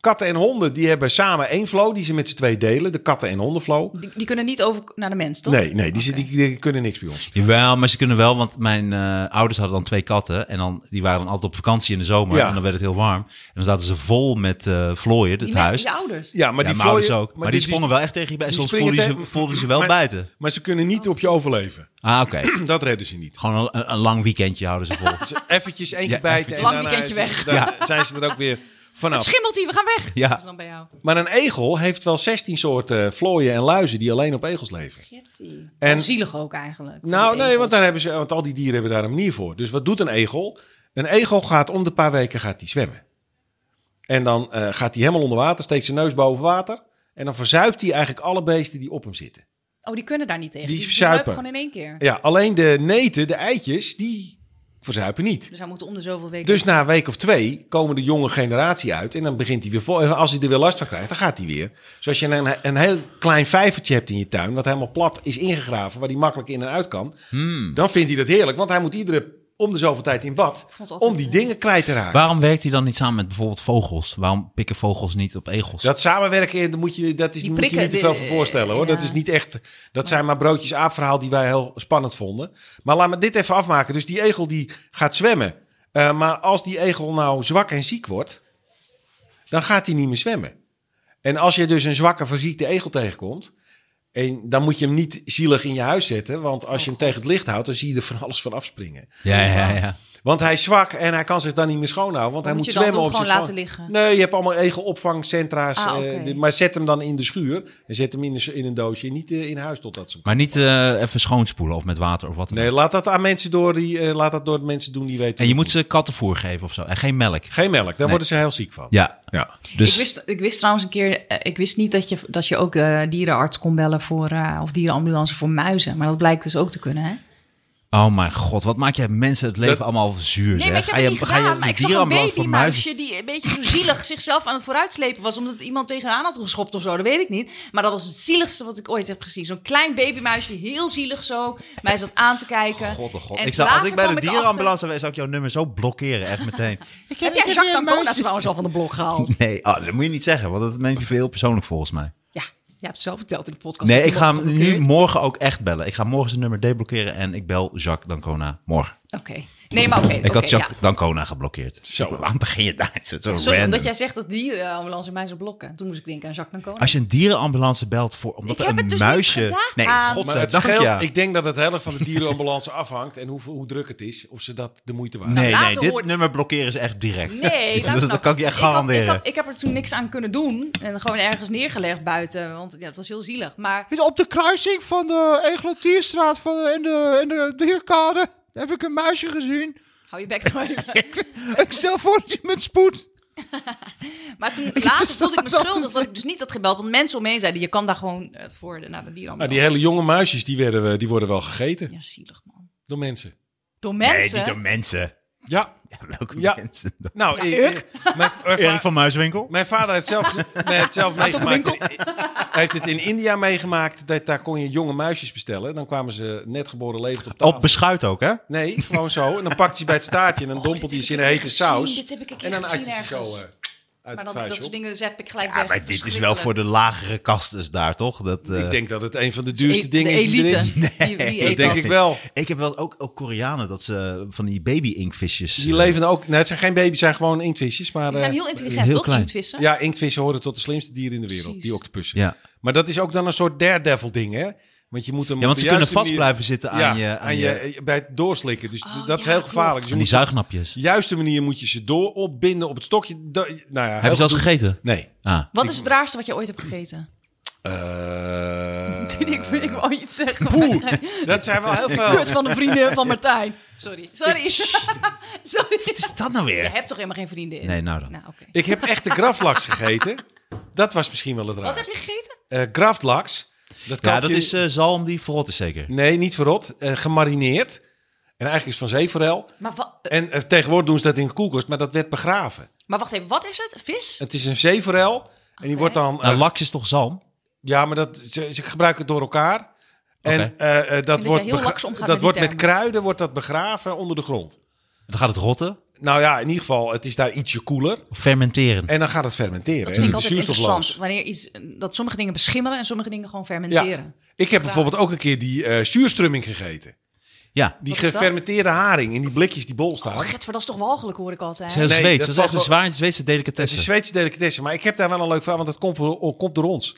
Speaker 4: Katten en honden die hebben samen één flow die ze met z'n twee delen. De katten en hondenflow.
Speaker 3: Die, die kunnen niet over naar de mens, toch?
Speaker 4: Nee, nee die, zit-
Speaker 3: Oké.
Speaker 4: die, die kunnen niks bij ons.
Speaker 2: Jawel, maar ze kunnen wel, want mijn eh, ouders hadden dan twee katten. En dan, die waren dan altijd op vakantie in de zomer.
Speaker 4: Ja.
Speaker 2: En dan werd het heel warm. En dan zaten ze vol met eh vlooien, het
Speaker 3: Die mensen,
Speaker 2: huis.
Speaker 3: die ouders.
Speaker 4: Ja, maar
Speaker 2: ja,
Speaker 4: die
Speaker 2: mijn ouders
Speaker 4: vlooien-
Speaker 2: ook. Maar,
Speaker 4: maar
Speaker 2: die
Speaker 4: die-
Speaker 2: sprongen wel echt tegen je bij.
Speaker 4: die
Speaker 2: Soms
Speaker 4: springen
Speaker 2: voelden ze,
Speaker 4: tegen-
Speaker 2: voelden ze wel
Speaker 4: maar-
Speaker 2: buiten.
Speaker 4: Maar ze kunnen niet op je overleven.
Speaker 2: Ah, oké.
Speaker 4: Dat redden ze niet.
Speaker 2: Gewoon een, een lang weekendje houden ze vol.
Speaker 4: Ze eventjes één keer
Speaker 2: Ja,
Speaker 4: bijten en
Speaker 3: Lang
Speaker 4: daarna
Speaker 3: weekendje
Speaker 4: zijn ze-
Speaker 3: weg.
Speaker 4: daar- zijn ze er ook weer
Speaker 3: Het
Speaker 4: vanaf.
Speaker 3: schimmelt hier, we gaan weg.
Speaker 2: Ja.
Speaker 3: Dat is dan bij jou.
Speaker 4: Maar een egel heeft wel 16 soorten vlooien en luizen die alleen op egels leven.
Speaker 3: Gitsie.
Speaker 4: En-
Speaker 3: Zielig ook eigenlijk.
Speaker 4: Nou,
Speaker 3: Die
Speaker 4: nee, want,
Speaker 3: egels.
Speaker 4: daar hebben ze, want al die dieren hebben daar een manier voor. Dus wat doet een egel? Een egel gaat om de paar weken gaat die zwemmen. En dan eh, gaat hij helemaal onder water, steekt zijn neus boven water. En dan verzuipt hij eigenlijk alle beesten die op hem zitten.
Speaker 3: Oh, die kunnen daar niet tegen.
Speaker 4: Die
Speaker 3: Die,
Speaker 4: verzuipen.
Speaker 3: zuipen gewoon in één keer.
Speaker 4: Ja, alleen de neten, de eitjes, die verzuipen niet.
Speaker 3: Dus hij moet om de zoveel weken...
Speaker 4: Dus na een week of twee komen de jonge generatie uit. En dan begint hij weer vol. En als hij er weer last van krijgt, dan gaat hij weer. Zoals je een, een heel klein vijvertje hebt in je tuin. Wat helemaal plat is ingegraven. Waar hij makkelijk in en uit kan. Dan vindt hij dat heerlijk. Want hij moet iedere om de zoveel tijd in bad.
Speaker 3: vond het altijd
Speaker 4: Om die
Speaker 3: leuk.
Speaker 4: dingen kwijt te raken.
Speaker 2: Waarom werkt hij dan niet samen met bijvoorbeeld vogels? Waarom pikken vogels niet op egels?
Speaker 4: Dat samenwerken, dat moet je, dat is,
Speaker 3: Die
Speaker 4: moet je
Speaker 3: prikken,
Speaker 4: niet te veel
Speaker 3: de-
Speaker 4: voor voorstellen hoor. Dat
Speaker 3: ja.
Speaker 4: is niet echt. Dat zijn maar broodjes aapverhaal die wij heel spannend vonden. Maar laat me dit even afmaken. Dus die egel die gaat zwemmen. Eh, maar als die egel nou zwak en ziek wordt, dan gaat hij niet meer zwemmen. En als je dus een zwakke, verziekte egel tegenkomt. En dan moet je hem niet zielig in je huis zetten. Want als
Speaker 3: Oh,
Speaker 4: je hem tegen het licht houdt, dan zie je er van alles van afspringen.
Speaker 2: Ja, ja, ja.
Speaker 4: Want hij is zwak en hij kan zich dan niet meer schoonhouden. Want hij
Speaker 3: moet
Speaker 4: moet
Speaker 3: je dan
Speaker 4: zwemmen
Speaker 3: doen?
Speaker 4: of zich
Speaker 3: Gewoon laten
Speaker 4: schoon-
Speaker 3: liggen?
Speaker 4: Nee, je hebt allemaal egelopvangcentra's.
Speaker 3: Ah,
Speaker 4: eh,
Speaker 3: oké.
Speaker 4: dit- maar zet hem dan in de schuur. En zet hem in een, s- in een doosje. Niet eh, in huis totdat ze hem-
Speaker 2: Maar niet eh, even schoonspoelen of met water of wat dan
Speaker 4: Nee,
Speaker 2: ook.
Speaker 4: laat dat aan mensen door. Die, eh, laat dat door de mensen doen die weten.
Speaker 2: En
Speaker 4: hoe
Speaker 2: je
Speaker 4: het
Speaker 2: moet ze kattenvoer geven of zo. En geen melk.
Speaker 4: Geen melk, daar worden ze heel ziek van.
Speaker 2: Ja.
Speaker 4: Ja.
Speaker 2: Dus
Speaker 3: Ik, wist, ik wist trouwens een keer, eh, ik wist niet dat je, dat je ook eh, dierenarts kon bellen voor, eh, of dierenambulance voor muizen. Maar dat blijkt dus ook te kunnen, hè?
Speaker 2: Oh mijn god, wat maak jij mensen het leven
Speaker 4: Dat-
Speaker 2: allemaal zuur, zeg.
Speaker 3: Nee, maar ik heb
Speaker 2: ga
Speaker 3: het
Speaker 2: je,
Speaker 3: niet
Speaker 2: ga je
Speaker 3: gedaan, maar
Speaker 2: de
Speaker 3: ik zag een
Speaker 2: dierenambulance voor muizen...
Speaker 3: babymuisje die een beetje zo zielig zichzelf aan het vooruitslepen was, omdat iemand tegenaan had geschopt of zo, dat weet ik niet. Maar dat was het zieligste wat ik ooit heb gezien. Zo'n klein babymuisje die heel zielig zo mij zat aan te kijken.
Speaker 2: God, oh god.
Speaker 3: En
Speaker 2: Ik zou, als
Speaker 3: later
Speaker 2: ik bij
Speaker 3: kwam
Speaker 2: de
Speaker 3: erachter-
Speaker 2: dierenambulance was, zou ik jouw nummer zo blokkeren, echt meteen. Ik
Speaker 3: Heb jij Jacques
Speaker 2: hier een
Speaker 3: D'Ancona
Speaker 2: muisje.
Speaker 3: trouwens al van de blok gehaald?
Speaker 2: Nee, ah, dat moet je niet zeggen, want dat neemt je veel persoonlijk volgens mij.
Speaker 3: Ja, jij hebt het zelf verteld in de podcast.
Speaker 2: Nee, ik ga hem
Speaker 3: Geblokkeerd.
Speaker 2: nu morgen ook echt bellen. Ik ga morgen zijn nummer deblokkeren en ik bel Jacques Dancona morgen.
Speaker 3: Oké. Nee, maar oké.
Speaker 2: Ik
Speaker 3: oké,
Speaker 2: had Jacques
Speaker 3: ja.
Speaker 2: Dancona geblokkeerd.
Speaker 4: Zo.
Speaker 2: Waarom begin je daar? Het is Zo
Speaker 3: Sorry,
Speaker 2: random.
Speaker 3: omdat jij zegt dat dierenambulance mij zou blokken. Toen moest ik denken aan Jacques D'Ancona.
Speaker 2: Als je een dierenambulance belt voor, omdat
Speaker 3: Ik
Speaker 2: er
Speaker 3: heb
Speaker 2: een
Speaker 3: het dus niet
Speaker 2: muisje...
Speaker 3: gedaan.
Speaker 2: nee,
Speaker 3: Maar
Speaker 4: Maar het
Speaker 2: godzijdank
Speaker 4: scheelt,
Speaker 2: ja.
Speaker 4: ik denk dat het heel erg van de dierenambulance afhangt. En hoe, hoe druk het is. Of ze dat de moeite waard
Speaker 2: Nee,
Speaker 3: later
Speaker 2: nee, dit
Speaker 3: hoort-
Speaker 2: nummer blokkeren is echt direct.
Speaker 3: Nee, nou-
Speaker 2: dat, dat kan ik je echt garanderen.
Speaker 3: Ik, had- ik heb er toen niks aan kunnen doen. En gewoon ergens neergelegd buiten. Want ja, dat was heel zielig. Maar
Speaker 2: Is op de kruising van de Egelotierstraat van de, en de, en de Dierkade heb ik een muisje gezien.
Speaker 3: hou je bek nou even.
Speaker 2: Ik stel voor dat je met spoed.
Speaker 3: Maar toen later voelde ik me schuldig dat ik dus niet had gebeld. Want mensen omheen zeiden, je kan daar gewoon eh, voor de, naar de
Speaker 4: Maar
Speaker 3: dierenambulance.
Speaker 4: Ah, Nou, die hele jonge muisjes, die, werden, we- die worden wel gegeten
Speaker 3: Ja, zielig man.
Speaker 4: door mensen.
Speaker 3: Door
Speaker 2: Nee,
Speaker 3: mensen?
Speaker 2: niet door mensen.
Speaker 4: Ja,
Speaker 2: Ja, welke
Speaker 4: Ja.
Speaker 2: mensen dan?
Speaker 4: nou, ik, ik- mijn, mijn va-
Speaker 2: Erik van Muiswinkel?
Speaker 4: Mijn vader heeft zelf, nee, heeft zelf meegemaakt. Hij heeft het in India meegemaakt. Dat, daar kon je jonge muisjes bestellen. Dan kwamen ze net geboren levend op tafel.
Speaker 2: Op beschuit ook, hè?
Speaker 4: nee, gewoon zo. En dan pakt hij bij het staartje
Speaker 3: Oh,
Speaker 4: en dan dompelt hij ze in een hete saus.
Speaker 3: Dit heb ik een keer
Speaker 4: en dan
Speaker 3: gezien
Speaker 4: at je ze zo
Speaker 3: ergens.
Speaker 4: eh, uit
Speaker 3: maar
Speaker 4: het
Speaker 3: dan, dat
Speaker 4: vuistje
Speaker 3: soort
Speaker 4: op.
Speaker 3: dingen zep ik gelijk
Speaker 2: Ja,
Speaker 3: weg.
Speaker 2: maar dit is wel voor de lagere kastes daar, toch? Dat, eh,
Speaker 4: Ik denk dat het een van de
Speaker 3: E-
Speaker 4: duurste dingen
Speaker 3: de
Speaker 4: is die er
Speaker 3: elite.
Speaker 4: is.
Speaker 3: Die, die
Speaker 4: Dat
Speaker 3: eet
Speaker 4: denk
Speaker 3: dat.
Speaker 4: ik wel.
Speaker 2: ik heb wel ook, ook Koreanen, dat ze van die eh, baby-inkvisjes...
Speaker 4: Die leven ook... Nee, het zijn geen baby's, het zijn gewoon inktvisjes. Maar,
Speaker 3: Die zijn
Speaker 4: eh,
Speaker 3: heel intelligent,
Speaker 2: heel
Speaker 3: toch?
Speaker 2: klein.
Speaker 3: Inktvissen.
Speaker 4: ja, inktvissen horen tot de slimste dieren in de wereld.
Speaker 3: Precies.
Speaker 4: Die octopussen.
Speaker 2: Ja.
Speaker 4: Maar dat is ook dan een soort daredevil ding, hè? Want je moet hem
Speaker 2: ja,
Speaker 4: op
Speaker 2: want
Speaker 4: de
Speaker 2: ze kunnen
Speaker 4: juiste
Speaker 2: vast
Speaker 4: manier-
Speaker 2: blijven zitten aan
Speaker 4: ja,
Speaker 2: je...
Speaker 4: aan je, bij het doorslikken. Dus
Speaker 3: Oh,
Speaker 4: dat is
Speaker 3: ja,
Speaker 4: heel gevaarlijk.
Speaker 3: klopt.
Speaker 4: Dus je
Speaker 2: aan die
Speaker 4: moet ze-
Speaker 2: zuignapjes.
Speaker 4: de juiste manier moet je ze door opbinden op het stokje. Da- nou ja,
Speaker 2: Hebben ze al eens gegeten?
Speaker 4: Nee.
Speaker 2: Ah.
Speaker 3: Wat is het raarste wat je ooit hebt gegeten?
Speaker 4: Eh,
Speaker 3: ik wil ik wou iets zeggen.
Speaker 4: Poeh, Oh. dat zijn wel heel veel.
Speaker 3: Kut van de vrienden van Martijn. Sorry. Sorry. Sorry.
Speaker 2: Wat is dat nou
Speaker 3: Je
Speaker 2: weer?
Speaker 3: hebt toch helemaal geen vrienden in?
Speaker 2: Nee, nou dan.
Speaker 3: Nou, oké.
Speaker 4: Ik heb echt de graflaks gegeten. Dat was misschien wel het
Speaker 3: Wat heb
Speaker 4: raarste.
Speaker 3: je gegeten?
Speaker 4: Eh graflaks. Dat
Speaker 2: Ja,
Speaker 4: koop
Speaker 2: dat
Speaker 4: je-
Speaker 2: is eh, zalm die verrot is zeker.
Speaker 4: Nee, niet verrot. Eh, gemarineerd. En eigenlijk is het van zeeforel.
Speaker 3: Maar, wa- eh,
Speaker 4: En eh, tegenwoordig doen ze dat in de koelkast, maar dat werd begraven.
Speaker 3: maar wacht even, wat is het? Vis?
Speaker 4: Het is een zeeforel. En die
Speaker 3: Oké.
Speaker 4: wordt dan... eh,
Speaker 2: Nou, laks is toch zalm?
Speaker 4: Ja, maar dat, ze, ze gebruiken het door elkaar. En
Speaker 2: Oké.
Speaker 4: eh, eh, dat
Speaker 3: jij
Speaker 4: wordt,
Speaker 3: heel
Speaker 4: begra-
Speaker 3: laks omgaat met
Speaker 4: dat
Speaker 3: die
Speaker 4: wordt met
Speaker 3: termen.
Speaker 4: kruiden wordt dat begraven onder de grond.
Speaker 2: Dan gaat het rotten.
Speaker 4: nou ja, in ieder geval, het is daar ietsje koeler.
Speaker 2: Fermenteren.
Speaker 4: En dan gaat het fermenteren.
Speaker 3: Dat
Speaker 4: en
Speaker 3: vind ik
Speaker 4: het
Speaker 3: altijd
Speaker 4: is zuurstofloos.
Speaker 3: interessant. Wanneer iets, dat sommige dingen beschimmelen en sommige dingen gewoon fermenteren.
Speaker 4: Ik heb bijvoorbeeld ook een keer die eh zuurstrumming gegeten.
Speaker 2: Ja,
Speaker 4: Die
Speaker 3: Wat is dat?
Speaker 4: gefermenteerde haring in die blikjes die bol staan.
Speaker 3: Oh, Getver, dat is toch walgelijk, hoor ik altijd.
Speaker 2: het is heel
Speaker 4: Nee,
Speaker 2: Zweeds.
Speaker 4: dat
Speaker 2: Dat is
Speaker 4: was
Speaker 2: echt een
Speaker 4: wel-
Speaker 2: zwaar Zweedse
Speaker 4: Het is een
Speaker 2: delicatessen.
Speaker 4: Zweedse delicatessen. Maar ik heb daar wel een leuk verhaal, want dat komt, oh, komt door ons.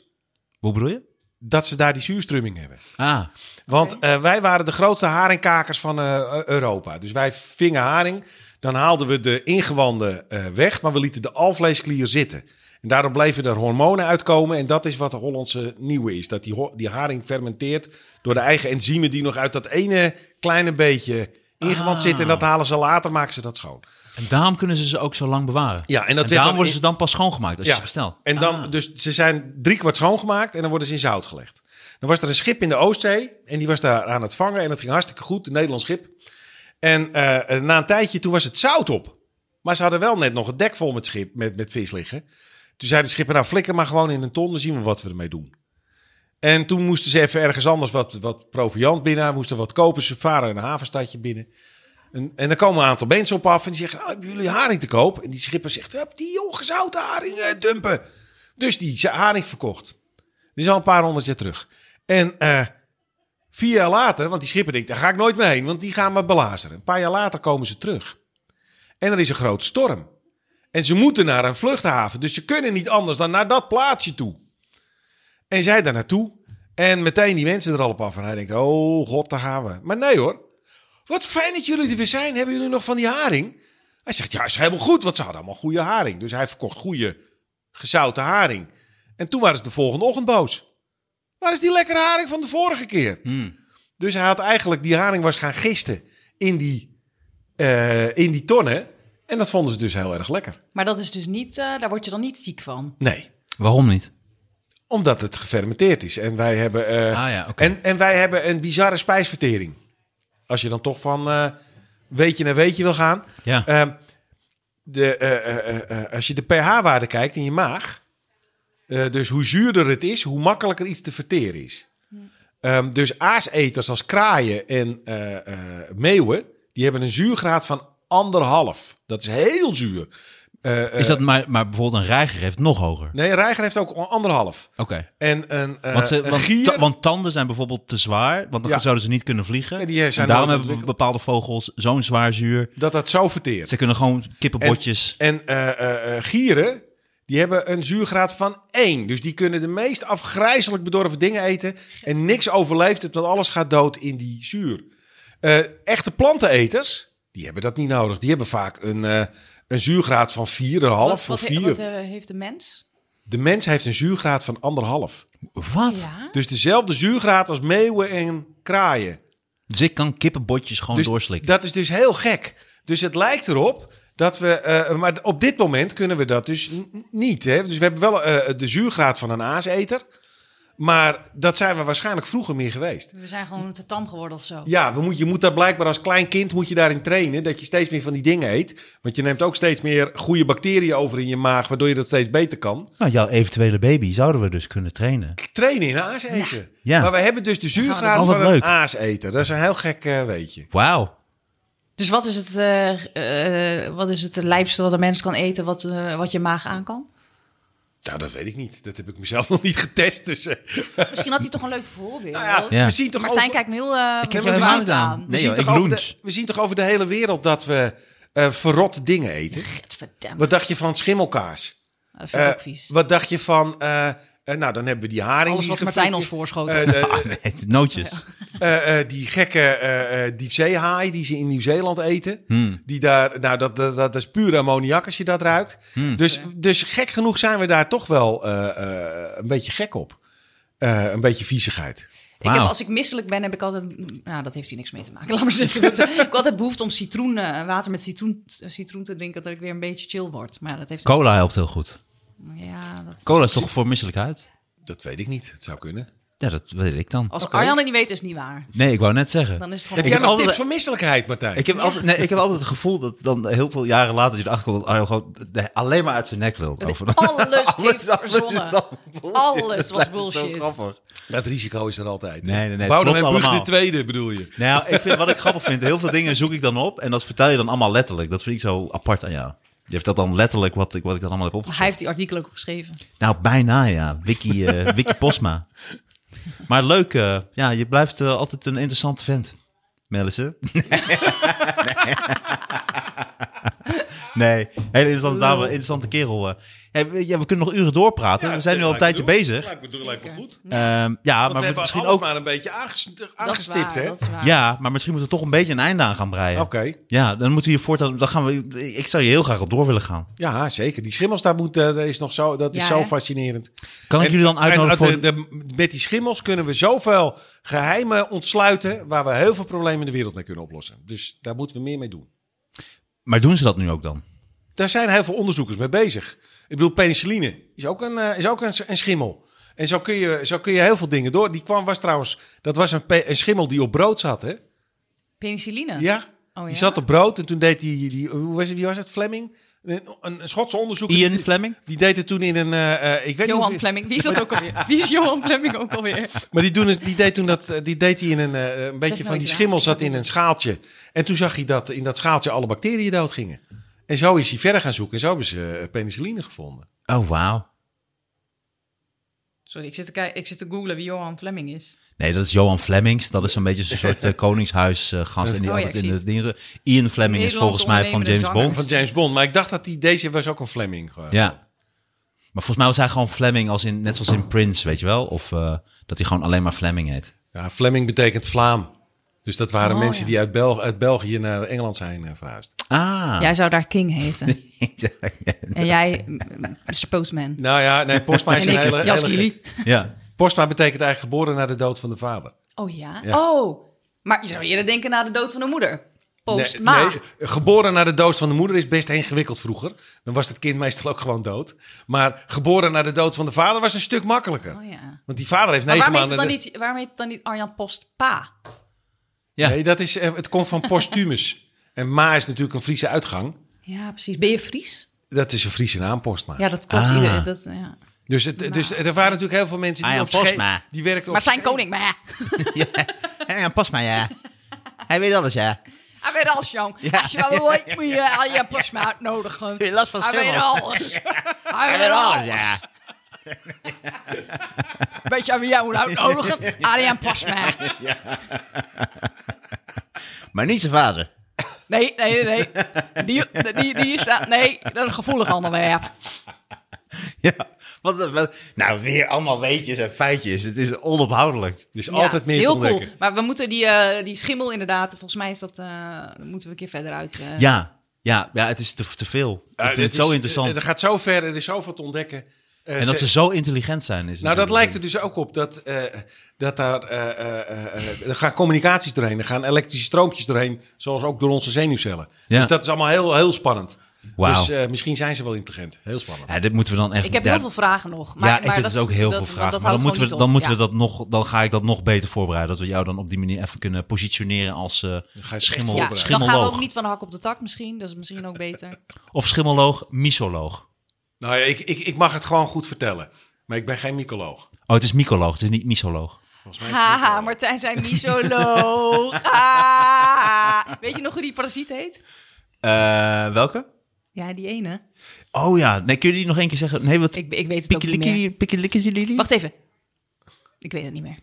Speaker 2: Hoe bedoel je?
Speaker 4: Dat ze daar die zuurstrumming hebben.
Speaker 2: Ah,
Speaker 4: Want eh, wij waren de grootste haringkakers van eh, Europa. Dus wij vingen haring. Dan haalden we de ingewanden eh, weg, maar we lieten de alvleesklier zitten. En daardoor bleven er hormonen uitkomen. En dat is wat de Hollandse nieuwe is. Dat die, ho- die haring fermenteert door de eigen enzymen die nog uit dat ene kleine beetje ingewand
Speaker 2: Ah.
Speaker 4: zitten. En dat halen ze later, maken ze dat schoon.
Speaker 2: en daarom kunnen ze ze ook zo lang bewaren.
Speaker 4: Ja, en dat
Speaker 2: en
Speaker 4: werd
Speaker 2: daarom
Speaker 4: dan
Speaker 2: worden ze dan pas schoongemaakt als je
Speaker 4: Ja.
Speaker 2: ze bestelt.
Speaker 4: En dan,
Speaker 2: Ah.
Speaker 4: dus ze zijn driekwart schoongemaakt en dan worden ze in zout gelegd. Dan was er een schip in de Oostzee en die was daar aan het vangen en dat ging hartstikke goed, een Nederlands schip. En eh, na een tijdje, toen was het zout op. Maar ze hadden wel net nog het dek vol met, schip, met, met vis liggen. Toen zeiden de schipper, nou flikker maar gewoon in een ton, dan zien we wat we ermee doen. En toen moesten ze even ergens anders wat, wat proviant binnen, moesten wat kopen. Ze varen een havenstadje binnen. En, en dan komen een aantal mensen op af en die zeggen, "Nou, hebben jullie haring te koop? En die schipper zegt, heb die ongezouten haring eh, dumpen. Dus die ze- haring verkocht. Dit is al een paar honderd jaar terug. En eh, vier jaar later, want die schipper denkt, daar ga ik nooit mee heen, want die gaan me belazeren. Een paar jaar later komen ze terug. En er is een grote storm. En ze moeten naar een vluchthaven, dus ze kunnen niet anders dan naar dat plaatsje toe. En zij daar naartoe. En meteen die mensen er al op af. En hij denkt, oh god, daar gaan we. Maar nee hoor, wat fijn dat jullie er weer zijn. Hebben jullie nog van die haring? Hij zegt, ja, is helemaal goed, want ze hadden allemaal goede haring. Dus hij verkocht goede, gezouten haring. En toen waren ze de volgende ochtend boos. Waar is die lekkere haring van de vorige keer?
Speaker 2: Hmm.
Speaker 4: Dus hij had eigenlijk die haring was gaan gisten in die, eh, in die tonnen. En dat vonden ze dus heel erg lekker.
Speaker 3: Maar dat is dus niet, eh, daar word je dan niet ziek van.
Speaker 4: Nee,
Speaker 2: Waarom niet?
Speaker 4: omdat het gefermenteerd is. En wij hebben, eh,
Speaker 2: Ah ja, oké.
Speaker 4: en, en wij hebben een bizarre spijsvertering. Als je dan toch van eh, weetje naar weetje wil gaan.
Speaker 2: Ja.
Speaker 4: Ehm, de, eh, eh, eh, eh, als je de pH-waarde kijkt in je maag, eh, dus hoe zuurder het is, hoe makkelijker iets te verteren is. Ehm, dus aaseters als kraaien en eh, eh, meeuwen, die hebben een zuurgraad van anderhalf. Dat is heel zuur. Eh, eh,
Speaker 2: Is dat maar, maar bijvoorbeeld een reiger heeft nog hoger?
Speaker 4: Nee, een reiger heeft ook anderhalf.
Speaker 2: Oké.
Speaker 4: En een, eh,
Speaker 2: Want, ze,
Speaker 4: een
Speaker 2: want,
Speaker 4: gier,
Speaker 2: ta- want tanden zijn bijvoorbeeld te zwaar, want dan
Speaker 4: Ja.
Speaker 2: zouden ze niet kunnen vliegen.
Speaker 4: Ja, die zijn
Speaker 2: en daarom
Speaker 4: nooit
Speaker 2: hebben we
Speaker 4: ontwikkeld.
Speaker 2: bepaalde vogels zo'n zwaar zuur.
Speaker 4: dat dat zo verteert.
Speaker 2: Ze kunnen gewoon kippenbotjes.
Speaker 4: En eh, eh, eh, gieren, die hebben een zuurgraad van 1. Dus die kunnen de meest afgrijzelijk bedorven dingen eten. En niks overleeft het, want alles gaat dood in die zuur. Eh, echte planteneters, die hebben dat niet nodig. Die hebben vaak een, eh, een zuurgraad van 4,5
Speaker 3: wat,
Speaker 4: of
Speaker 3: wat,
Speaker 4: 4.
Speaker 3: wat, eh, heeft de mens?
Speaker 4: De mens heeft een zuurgraad van anderhalf.
Speaker 2: Wat?
Speaker 3: Ja.
Speaker 4: Dus dezelfde zuurgraad als meeuwen en kraaien.
Speaker 2: Dus ik kan kippenbotjes gewoon
Speaker 4: Dus
Speaker 2: doorslikken.
Speaker 4: Dat is dus heel gek. Dus het lijkt erop dat we. eh, maar op dit moment kunnen we dat dus n- niet. Hè? Dus we hebben wel eh, de zuurgraad van een aaseter. Maar dat zijn we waarschijnlijk vroeger meer geweest.
Speaker 3: We zijn gewoon te tam geworden of zo.
Speaker 4: Ja, we moet, je moet daar blijkbaar als klein kind moet je daarin trainen. Dat je steeds meer van die dingen eet. Want je neemt ook steeds meer goede bacteriën over in je maag. Waardoor je dat steeds beter kan.
Speaker 2: Nou, jouw eventuele baby zouden we dus kunnen trainen.
Speaker 4: Trainen in aaseter.
Speaker 2: Nou, Ja.
Speaker 4: Maar we hebben dus de
Speaker 3: gaan
Speaker 4: zuurgraad
Speaker 2: we- Oh,
Speaker 4: van
Speaker 2: wat
Speaker 4: een
Speaker 2: leuk.
Speaker 4: aaseter. Dat is een heel gek eh, weetje.
Speaker 2: Wauw.
Speaker 3: Dus wat is, het, eh, eh, wat is het lijpste wat een mens kan eten, wat, eh, wat je maag aan kan?
Speaker 4: Nou, dat weet ik niet. Dat heb ik mezelf nog niet getest. Dus, eh,
Speaker 3: Misschien had hij toch een leuk voorbeeld.
Speaker 4: nou ja,
Speaker 2: Ja.
Speaker 4: we zien toch
Speaker 3: Martijn
Speaker 4: over-
Speaker 3: kijkt me heel eh,
Speaker 2: heb
Speaker 3: bezwaard
Speaker 2: helemaal niet aan.
Speaker 3: aan.
Speaker 2: Nee,
Speaker 4: we,
Speaker 2: joh,
Speaker 4: zien
Speaker 2: ik
Speaker 4: toch over de,
Speaker 2: lunch.
Speaker 4: we zien toch over de hele wereld dat we eh verrotte dingen eten?
Speaker 3: Gadverdamme.
Speaker 4: Wat dacht je van schimmelkaas?
Speaker 3: Dat vind ik
Speaker 4: Eh,
Speaker 3: ook vies.
Speaker 4: Wat dacht je van... eh, eh, nou, dan hebben we die haring.
Speaker 3: Alles
Speaker 4: die
Speaker 3: wat
Speaker 4: gefrit-
Speaker 3: Martijn ons voorschoot.
Speaker 4: eh, de-
Speaker 2: Ah, nee, het- nootjes.
Speaker 4: eh, eh, die gekke eh, eh, diepzeehaai die ze in Nieuw-Zeeland eten.
Speaker 2: Hmm.
Speaker 4: Die daar, nou, dat, dat, dat is puur ammoniak als je dat ruikt.
Speaker 2: Hmm.
Speaker 4: Dus, dus gek genoeg zijn we daar toch wel eh, eh, een beetje gek op. Eh, een beetje viezigheid.
Speaker 3: Ik heb,
Speaker 2: Wauw.
Speaker 3: als ik misselijk ben, heb ik altijd... Nou, dat heeft hier niks mee te maken. Laat maar zeggen. ik heb altijd behoefte om citroen, eh, water met citroen, citroen te drinken... dat ik weer een beetje chill word. Maar ja, dat heeft...
Speaker 2: Cola helpt heel goed.
Speaker 3: Ja, dat...
Speaker 2: Cola is toch voor misselijkheid?
Speaker 4: Dat weet ik niet. Het zou kunnen.
Speaker 2: Ja, dat weet ik dan.
Speaker 3: Als
Speaker 4: Oké.
Speaker 3: Arjan het niet weet, is het niet waar.
Speaker 2: Nee, ik wou net zeggen.
Speaker 3: Dan is het
Speaker 4: Heb
Speaker 3: gewoon...
Speaker 4: jij
Speaker 2: heb
Speaker 4: nog
Speaker 2: altijd-
Speaker 4: tips voor misselijkheid, Martijn?
Speaker 2: Ik heb, altijd, nee, ik heb altijd het gevoel dat dan heel veel jaren later je erachter komt... dat Arjan gewoon nee, alleen maar uit zijn nek lult.
Speaker 3: hij
Speaker 2: Over
Speaker 3: alles heeft
Speaker 2: is
Speaker 3: verzonnen.
Speaker 2: allemaal bullshit.
Speaker 3: Alles
Speaker 2: Dat
Speaker 3: was
Speaker 2: lijkt me
Speaker 3: bullshit.
Speaker 2: Zo grappig.
Speaker 4: Dat risico is er altijd.
Speaker 2: Nee, nee, nee, het
Speaker 4: Bouw nog
Speaker 2: klopt
Speaker 4: een
Speaker 2: allemaal.
Speaker 4: de tweede, bedoel je?
Speaker 2: Nou, ik vind, wat ik grappig vind, heel veel dingen zoek ik dan op... en dat vertel je dan allemaal letterlijk. Dat vind ik zo apart aan jou. Je heeft dat dan letterlijk wat ik, wat ik dan allemaal heb opgeschreven.
Speaker 3: Hij heeft die artikel ook geschreven.
Speaker 2: Nou, bijna ja. Wiki, eh Wiki Posma. Maar leuk, eh, ja, je blijft eh, altijd een interessante vent. Melisse. Nee. nee, hele interessante dame, interessante kerel. eh. Ja, we, ja, we kunnen nog uren doorpraten. we zijn nu al een tijdje bezig.
Speaker 4: Lijkt me, lijkt me goed.
Speaker 2: Ehm,
Speaker 4: Want
Speaker 2: ja,
Speaker 4: we
Speaker 2: maar
Speaker 4: hebben
Speaker 2: moet- misschien
Speaker 4: alles
Speaker 2: ook,
Speaker 4: maar een beetje aanges-
Speaker 3: Dat is
Speaker 4: aangestipt,
Speaker 3: waar,
Speaker 4: hè?
Speaker 3: dat is waar.
Speaker 2: ja, maar misschien moeten we toch een beetje een einde aan gaan breien.
Speaker 4: Oké.
Speaker 2: Ja, dan moeten we hier voortaan. Dan gaan we, ik zou je heel graag op door willen gaan.
Speaker 4: Ja, zeker. Die schimmels daar moet, eh, dat is nog zo, dat is
Speaker 3: Ja,
Speaker 4: zo
Speaker 3: hè?
Speaker 4: fascinerend.
Speaker 2: Kan ik
Speaker 4: En-
Speaker 2: jullie dan uitnodigen
Speaker 4: en
Speaker 2: voor.
Speaker 4: de- de- met die schimmels kunnen we zoveel geheimen ontsluiten... waar we heel veel problemen in de wereld mee kunnen oplossen. Dus daar moeten we meer mee doen.
Speaker 2: Maar doen ze dat nu ook dan?
Speaker 4: Daar zijn heel veel onderzoekers mee bezig. Ik bedoel, penicilline is ook een, eh, is ook een, s- een schimmel. En zo kun, je, zo kun je heel veel dingen door. Die kwam was trouwens... Dat was een, pe- een schimmel die op brood zat, hè?
Speaker 3: Penicilline?
Speaker 4: Ja.
Speaker 3: Oh,
Speaker 4: Die
Speaker 3: ja?
Speaker 4: zat op brood en toen deed die... die hoe was het, wie was het? Fleming? Een, een, een Schotse onderzoeker.
Speaker 2: Ian
Speaker 4: die,
Speaker 2: Fleming?
Speaker 4: die deed het toen in een... eh, eh, ik weet niet
Speaker 3: Johan
Speaker 4: of-
Speaker 3: Fleming. Wie is dat ook alweer? Wie is Johan Fleming ook alweer?
Speaker 4: Maar die, doen, die deed toen dat, die deed hij in een, eh,
Speaker 3: nou
Speaker 4: een beetje van
Speaker 3: eens
Speaker 4: die
Speaker 3: raar,
Speaker 4: schimmel
Speaker 3: zeg dat
Speaker 4: zat in
Speaker 3: niet.
Speaker 4: een schaaltje. En toen zag hij dat in dat schaaltje alle bacteriën doodgingen. En zo is hij verder gaan zoeken en zo hebben ze eh, penicilline gevonden.
Speaker 2: Oh, wauw.
Speaker 3: Sorry, ik zit, te kijk- ik zit te googlen wie Johan Fleming is.
Speaker 2: Nee, dat is Johan Flemings. Dat is een beetje zo'n soort eh, koningshuisgast. en die
Speaker 3: Oh ja,
Speaker 2: altijd
Speaker 3: ik
Speaker 2: in
Speaker 3: zie
Speaker 2: de dingen. Ian Fleming is
Speaker 3: Nederlandse
Speaker 2: volgens mij van James
Speaker 3: ondernemende zanger.
Speaker 2: Bond.
Speaker 4: Van James Bond. Maar ik dacht dat die, deze was ook een Fleming. gewoon.
Speaker 2: Ja. Maar volgens mij was hij gewoon Fleming, als in, net zoals in Prince, weet je wel? Of eh, dat hij gewoon alleen maar Fleming heet.
Speaker 4: ja, Fleming betekent Vlaam. Dus dat waren
Speaker 3: Oh,
Speaker 4: mensen
Speaker 3: ja.
Speaker 4: die uit, Bel- uit België naar Engeland zijn eh, verhuisd.
Speaker 2: Ah.
Speaker 3: Jij zou daar King heten.
Speaker 2: Ja.
Speaker 3: en jij mm, Mr. Postman.
Speaker 4: Nou ja, nee, Postma is
Speaker 3: en ik
Speaker 4: een hele...
Speaker 3: Jas
Speaker 4: hele-
Speaker 3: Kili.
Speaker 2: ja.
Speaker 4: Postma betekent eigenlijk geboren na de dood van de vader.
Speaker 3: Oh ja?
Speaker 4: Ja.
Speaker 3: Oh. Maar je zou eerder denken na de dood van de moeder. Post,
Speaker 4: Nee,
Speaker 3: maar...
Speaker 4: nee, geboren naar de dood van de moeder is best ingewikkeld vroeger. Dan was het kind meestal ook gewoon dood. Maar geboren naar de dood van de vader was een stuk makkelijker.
Speaker 3: Oh ja.
Speaker 4: Want die vader heeft
Speaker 3: Maar
Speaker 4: negen
Speaker 3: waarom heet, het
Speaker 4: maanden...
Speaker 3: dan
Speaker 4: de-
Speaker 3: niet, waarom heet het dan niet Arjan Post pa?
Speaker 2: Ja.
Speaker 4: Nee, dat is, eh, het komt van postumus. en ma is natuurlijk een Friese uitgang.
Speaker 3: Ja, precies. Ben je Fries?
Speaker 4: Dat is een Friese naampost, maar.
Speaker 3: Ja, dat klopt.
Speaker 2: Ah.
Speaker 3: Iedereen, dat, ja.
Speaker 4: Dus, het, dus er waren natuurlijk heel veel mensen die
Speaker 2: Ah ja,
Speaker 4: op sche-
Speaker 2: Postma.
Speaker 4: Die werkten op
Speaker 3: Maar zijn koning, maar ja.
Speaker 2: ja, pas maar, ja. Hij weet alles, ja.
Speaker 3: Hij weet alles, jong.
Speaker 2: Ja.
Speaker 3: Als je wel ooit moet je Arjan Post maar uitnodigen.
Speaker 2: Heb je last van
Speaker 3: Hij weet
Speaker 2: schimmel?
Speaker 3: alles. Hij weet alles. Weet je aan wie jij moet uitnodigen? Arjan Post maar.
Speaker 2: Maar niet zijn vader.
Speaker 3: Nee, nee, nee. Die, die, die is dat. Nee, dat is een gevoelig onderwerp.
Speaker 2: Ja. Wat, wat- nou, weer allemaal weetjes en feitjes. Het is onophoudelijk.
Speaker 4: Er is
Speaker 3: Ja,
Speaker 4: altijd meer te
Speaker 3: Heel cool.
Speaker 4: ontdekken.
Speaker 3: Maar we moeten die, eh, die schimmel inderdaad, volgens mij is dat, eh, dat moeten we een keer verder uit. eh.
Speaker 2: Ja. Ja, ja het is te, te veel. Ik
Speaker 4: Eh,
Speaker 2: vind
Speaker 4: dit
Speaker 2: het zo
Speaker 4: is-
Speaker 2: interessant.
Speaker 4: eh, Er gaat zo ver, er is zoveel te ontdekken. Eh,
Speaker 2: en dat ze zo intelligent zijn. Is
Speaker 4: Nou, dat
Speaker 2: natuurlijk-
Speaker 4: lijkt er dus ook op dat, eh, dat daar eh, eh, eh, er gaan communicaties doorheen, er gaan elektrische stroompjes doorheen, zoals ook door onze zenuwcellen.
Speaker 2: Ja.
Speaker 4: Dus dat is allemaal heel, heel spannend.
Speaker 2: Wauw. Eh.
Speaker 4: Dus eh, misschien zijn ze wel intelligent. Heel spannend.
Speaker 2: Ja, dit moeten we dan echt...
Speaker 3: Ik heb
Speaker 2: ja,
Speaker 3: heel veel vragen nog. Maar,
Speaker 2: ja, ik
Speaker 3: maar
Speaker 2: heb
Speaker 3: dat
Speaker 2: dus ook
Speaker 3: is-
Speaker 2: heel
Speaker 3: dat-
Speaker 2: veel
Speaker 3: dat-
Speaker 2: vragen.
Speaker 3: dat
Speaker 2: maar dan
Speaker 3: houdt
Speaker 2: moeten, we,
Speaker 3: gewoon
Speaker 2: dan,
Speaker 3: niet
Speaker 2: moeten
Speaker 3: op.
Speaker 2: we dat nog, dan ga ik dat nog beter voorbereiden. Dat we jou dan op die manier even kunnen positioneren als eh,
Speaker 4: ga je echt
Speaker 2: schimmel,
Speaker 3: ja. Ja, dan gaan we
Speaker 2: schimmelloog.
Speaker 3: ook niet van de hak op de tak misschien. Dat is misschien ook beter.
Speaker 2: Of schimmelloog, misoloog.
Speaker 4: Nou ja, ik, ik, ik mag het gewoon goed vertellen. Maar ik ben geen mycoloog.
Speaker 2: Oh, het is mycoloog, het is niet misoloog.
Speaker 4: Volgens mij is het
Speaker 3: Haha,
Speaker 4: mycoloog.
Speaker 3: Martijn zijn misoloog. Ah. Weet je nog hoe die parasiet heet?
Speaker 2: Eh, welke?
Speaker 3: Ja, die ene.
Speaker 2: Oh ja, nee, kun je die nog één keer zeggen? Nee, wat...
Speaker 3: Ik, ik weet het ook niet meer.
Speaker 2: Pikkelikkiezilili?
Speaker 3: Wacht even. Ik weet het niet meer.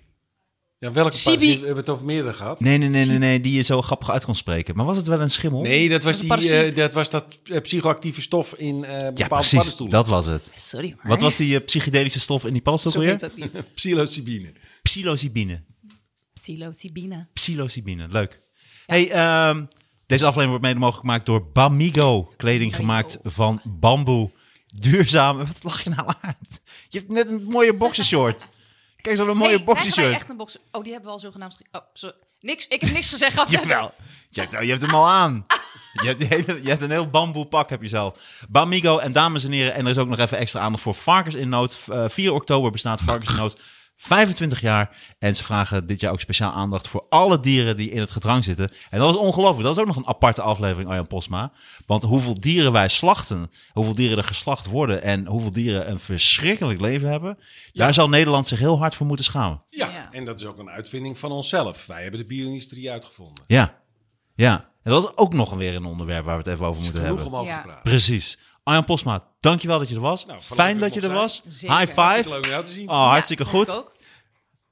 Speaker 4: Ja, welke
Speaker 3: Sibi-
Speaker 4: parasiet? We hebben het over meerdere gehad.
Speaker 2: Nee, nee, nee, nee, nee, die je zo grappig uit kon spreken. Maar was het wel een schimmel?
Speaker 4: Nee, dat was,
Speaker 3: Dat
Speaker 4: die,
Speaker 3: is een parasiet.
Speaker 4: eh, dat, was dat eh, psychoactieve stof in eh, bepaalde
Speaker 2: Ja, precies,
Speaker 4: paddenstoelen.
Speaker 2: dat was het.
Speaker 3: Sorry maar.
Speaker 2: Wat was die eh, psychedelische stof in die paddenstoel
Speaker 3: Zo heet
Speaker 2: weer?
Speaker 3: dat niet.
Speaker 4: Psilocybine.
Speaker 2: Psilocybine.
Speaker 3: Psilocybine.
Speaker 2: psilocybine. Leuk. Hey, ehm, deze aflevering wordt mede mogelijk gemaakt door Bamigo. Kleding gemaakt van bamboe. Duurzaam. Wat lach je nou uit? Je hebt net een mooie boxershort. Kijk eens wat een mooie
Speaker 3: Hey, krijgen wij
Speaker 2: boxershort.
Speaker 3: echt een boxer. Oh, die hebben we al zogenaamd. ge- Oh, sorry. Niks. Ik heb niks gezegd. Gaf jij
Speaker 2: Jawel. Je hebt, je hebt hem al aan. Je hebt, die hele- je hebt een heel bamboe pak, heb je zelf. Bamigo en dames en heren. En er is ook nog even extra aandacht voor Varkens in Nood. V- eh, 4 oktober bestaat Varkens in Nood 25 jaar. En ze vragen dit jaar ook speciaal aandacht voor alle dieren die in het gedrang zitten. En dat is ongelooflijk. Dat is ook nog een aparte aflevering, Arjan Posma. Want hoeveel dieren wij slachten, hoeveel dieren er geslacht worden en hoeveel dieren een verschrikkelijk leven hebben. Daar zal Nederland zich heel hard voor moeten schamen.
Speaker 4: Ja,
Speaker 3: Ja.
Speaker 4: en dat is ook een uitvinding van onszelf. Wij hebben de bio-industrie uitgevonden.
Speaker 2: Ja, ja. En dat is ook nog weer een onderwerp waar we het even over moeten
Speaker 4: Genoeg
Speaker 2: hebben.
Speaker 4: om over
Speaker 3: Ja.
Speaker 4: te praten.
Speaker 2: Precies. Arjan Posma, dankjewel dat je er was.
Speaker 4: Nou, verloop
Speaker 2: Fijn
Speaker 4: ik
Speaker 2: dat je
Speaker 4: nog
Speaker 2: er
Speaker 4: zijn.
Speaker 2: was.
Speaker 3: Zeker.
Speaker 2: High
Speaker 4: Hartstikke
Speaker 2: five.
Speaker 4: Leuk om jou te zien.
Speaker 2: Oh, hartstikke
Speaker 3: Ja, vond ik
Speaker 2: goed.
Speaker 3: ook.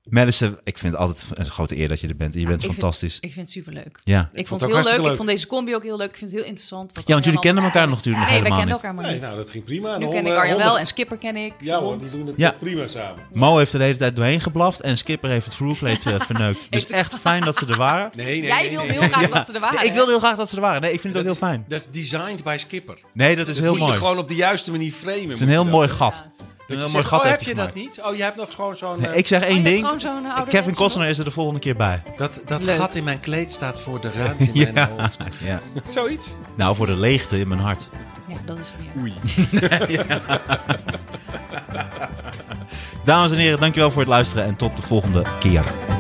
Speaker 2: Madison, ik vind het altijd een grote eer dat je er bent. Je bent
Speaker 3: Ik vind-
Speaker 2: fantastisch.
Speaker 3: Ik vind het superleuk.
Speaker 2: Ja.
Speaker 3: Ik vond
Speaker 4: vond het
Speaker 3: het
Speaker 4: ook
Speaker 3: heel leuk.
Speaker 4: hartstikke
Speaker 3: Ik vond deze combi ook heel leuk. Ik vind het heel interessant. wat
Speaker 2: ja, want jullie
Speaker 3: Arjan
Speaker 2: kennen elkaar
Speaker 3: allemaal-
Speaker 2: nog natuurlijk
Speaker 3: Nee,
Speaker 2: nog
Speaker 3: wij
Speaker 2: helemaal
Speaker 3: kennen
Speaker 2: niet.
Speaker 3: elkaar maar
Speaker 4: Nee,
Speaker 3: niet.
Speaker 4: nou, dat ging prima. En
Speaker 3: Nu ken
Speaker 4: honden-
Speaker 3: ik Arjan
Speaker 4: honden-
Speaker 3: wel en Skipper ken ik.
Speaker 4: Ja hoor,
Speaker 3: Hond.
Speaker 4: die doen het
Speaker 2: Ja.
Speaker 4: echt prima samen.
Speaker 2: Mo heeft er de hele tijd doorheen geblaft en Skipper heeft het vloerkleed eh, verneukt. Dus
Speaker 3: Heeft-
Speaker 2: echt fijn dat ze er waren.
Speaker 4: Nee, nee,
Speaker 3: Jij
Speaker 4: nee,
Speaker 3: wilde
Speaker 4: nee.
Speaker 3: heel graag dat ze er waren.
Speaker 2: ik wilde heel graag dat ze er waren. Nee, ik vind het ook heel fijn.
Speaker 4: Dat is designed by Skipper.
Speaker 2: Nee, dat is
Speaker 4: dat
Speaker 2: heel
Speaker 4: moet
Speaker 2: mooi.
Speaker 4: je gewoon op de juiste manier framen.
Speaker 2: Het is een heel mooi gat.
Speaker 3: Inderdaad.
Speaker 2: Een heel mooi gat
Speaker 4: oh,
Speaker 2: heeft
Speaker 4: heb
Speaker 2: hij
Speaker 4: je dat
Speaker 2: gemaakt.
Speaker 4: niet? Oh, je hebt nog gewoon zo'n...
Speaker 2: Nee,
Speaker 4: eh,
Speaker 2: ik zeg
Speaker 3: Oh,
Speaker 2: één
Speaker 3: je hebt
Speaker 2: ding. Eh,
Speaker 3: gewoon zo'n ouderwetse
Speaker 2: Kevin
Speaker 3: nog.
Speaker 2: Costner is er de volgende keer bij.
Speaker 4: Dat, dat
Speaker 3: Leuk.
Speaker 4: gat in mijn kleed staat voor de ruimte in mijn hoofd.
Speaker 2: Ja.
Speaker 4: Zoiets.
Speaker 2: Nou, voor de leegte in mijn hart.
Speaker 3: Ja, dat is meer.
Speaker 4: Oei.
Speaker 2: Dames en heren, dankjewel voor het luisteren en tot de volgende keer.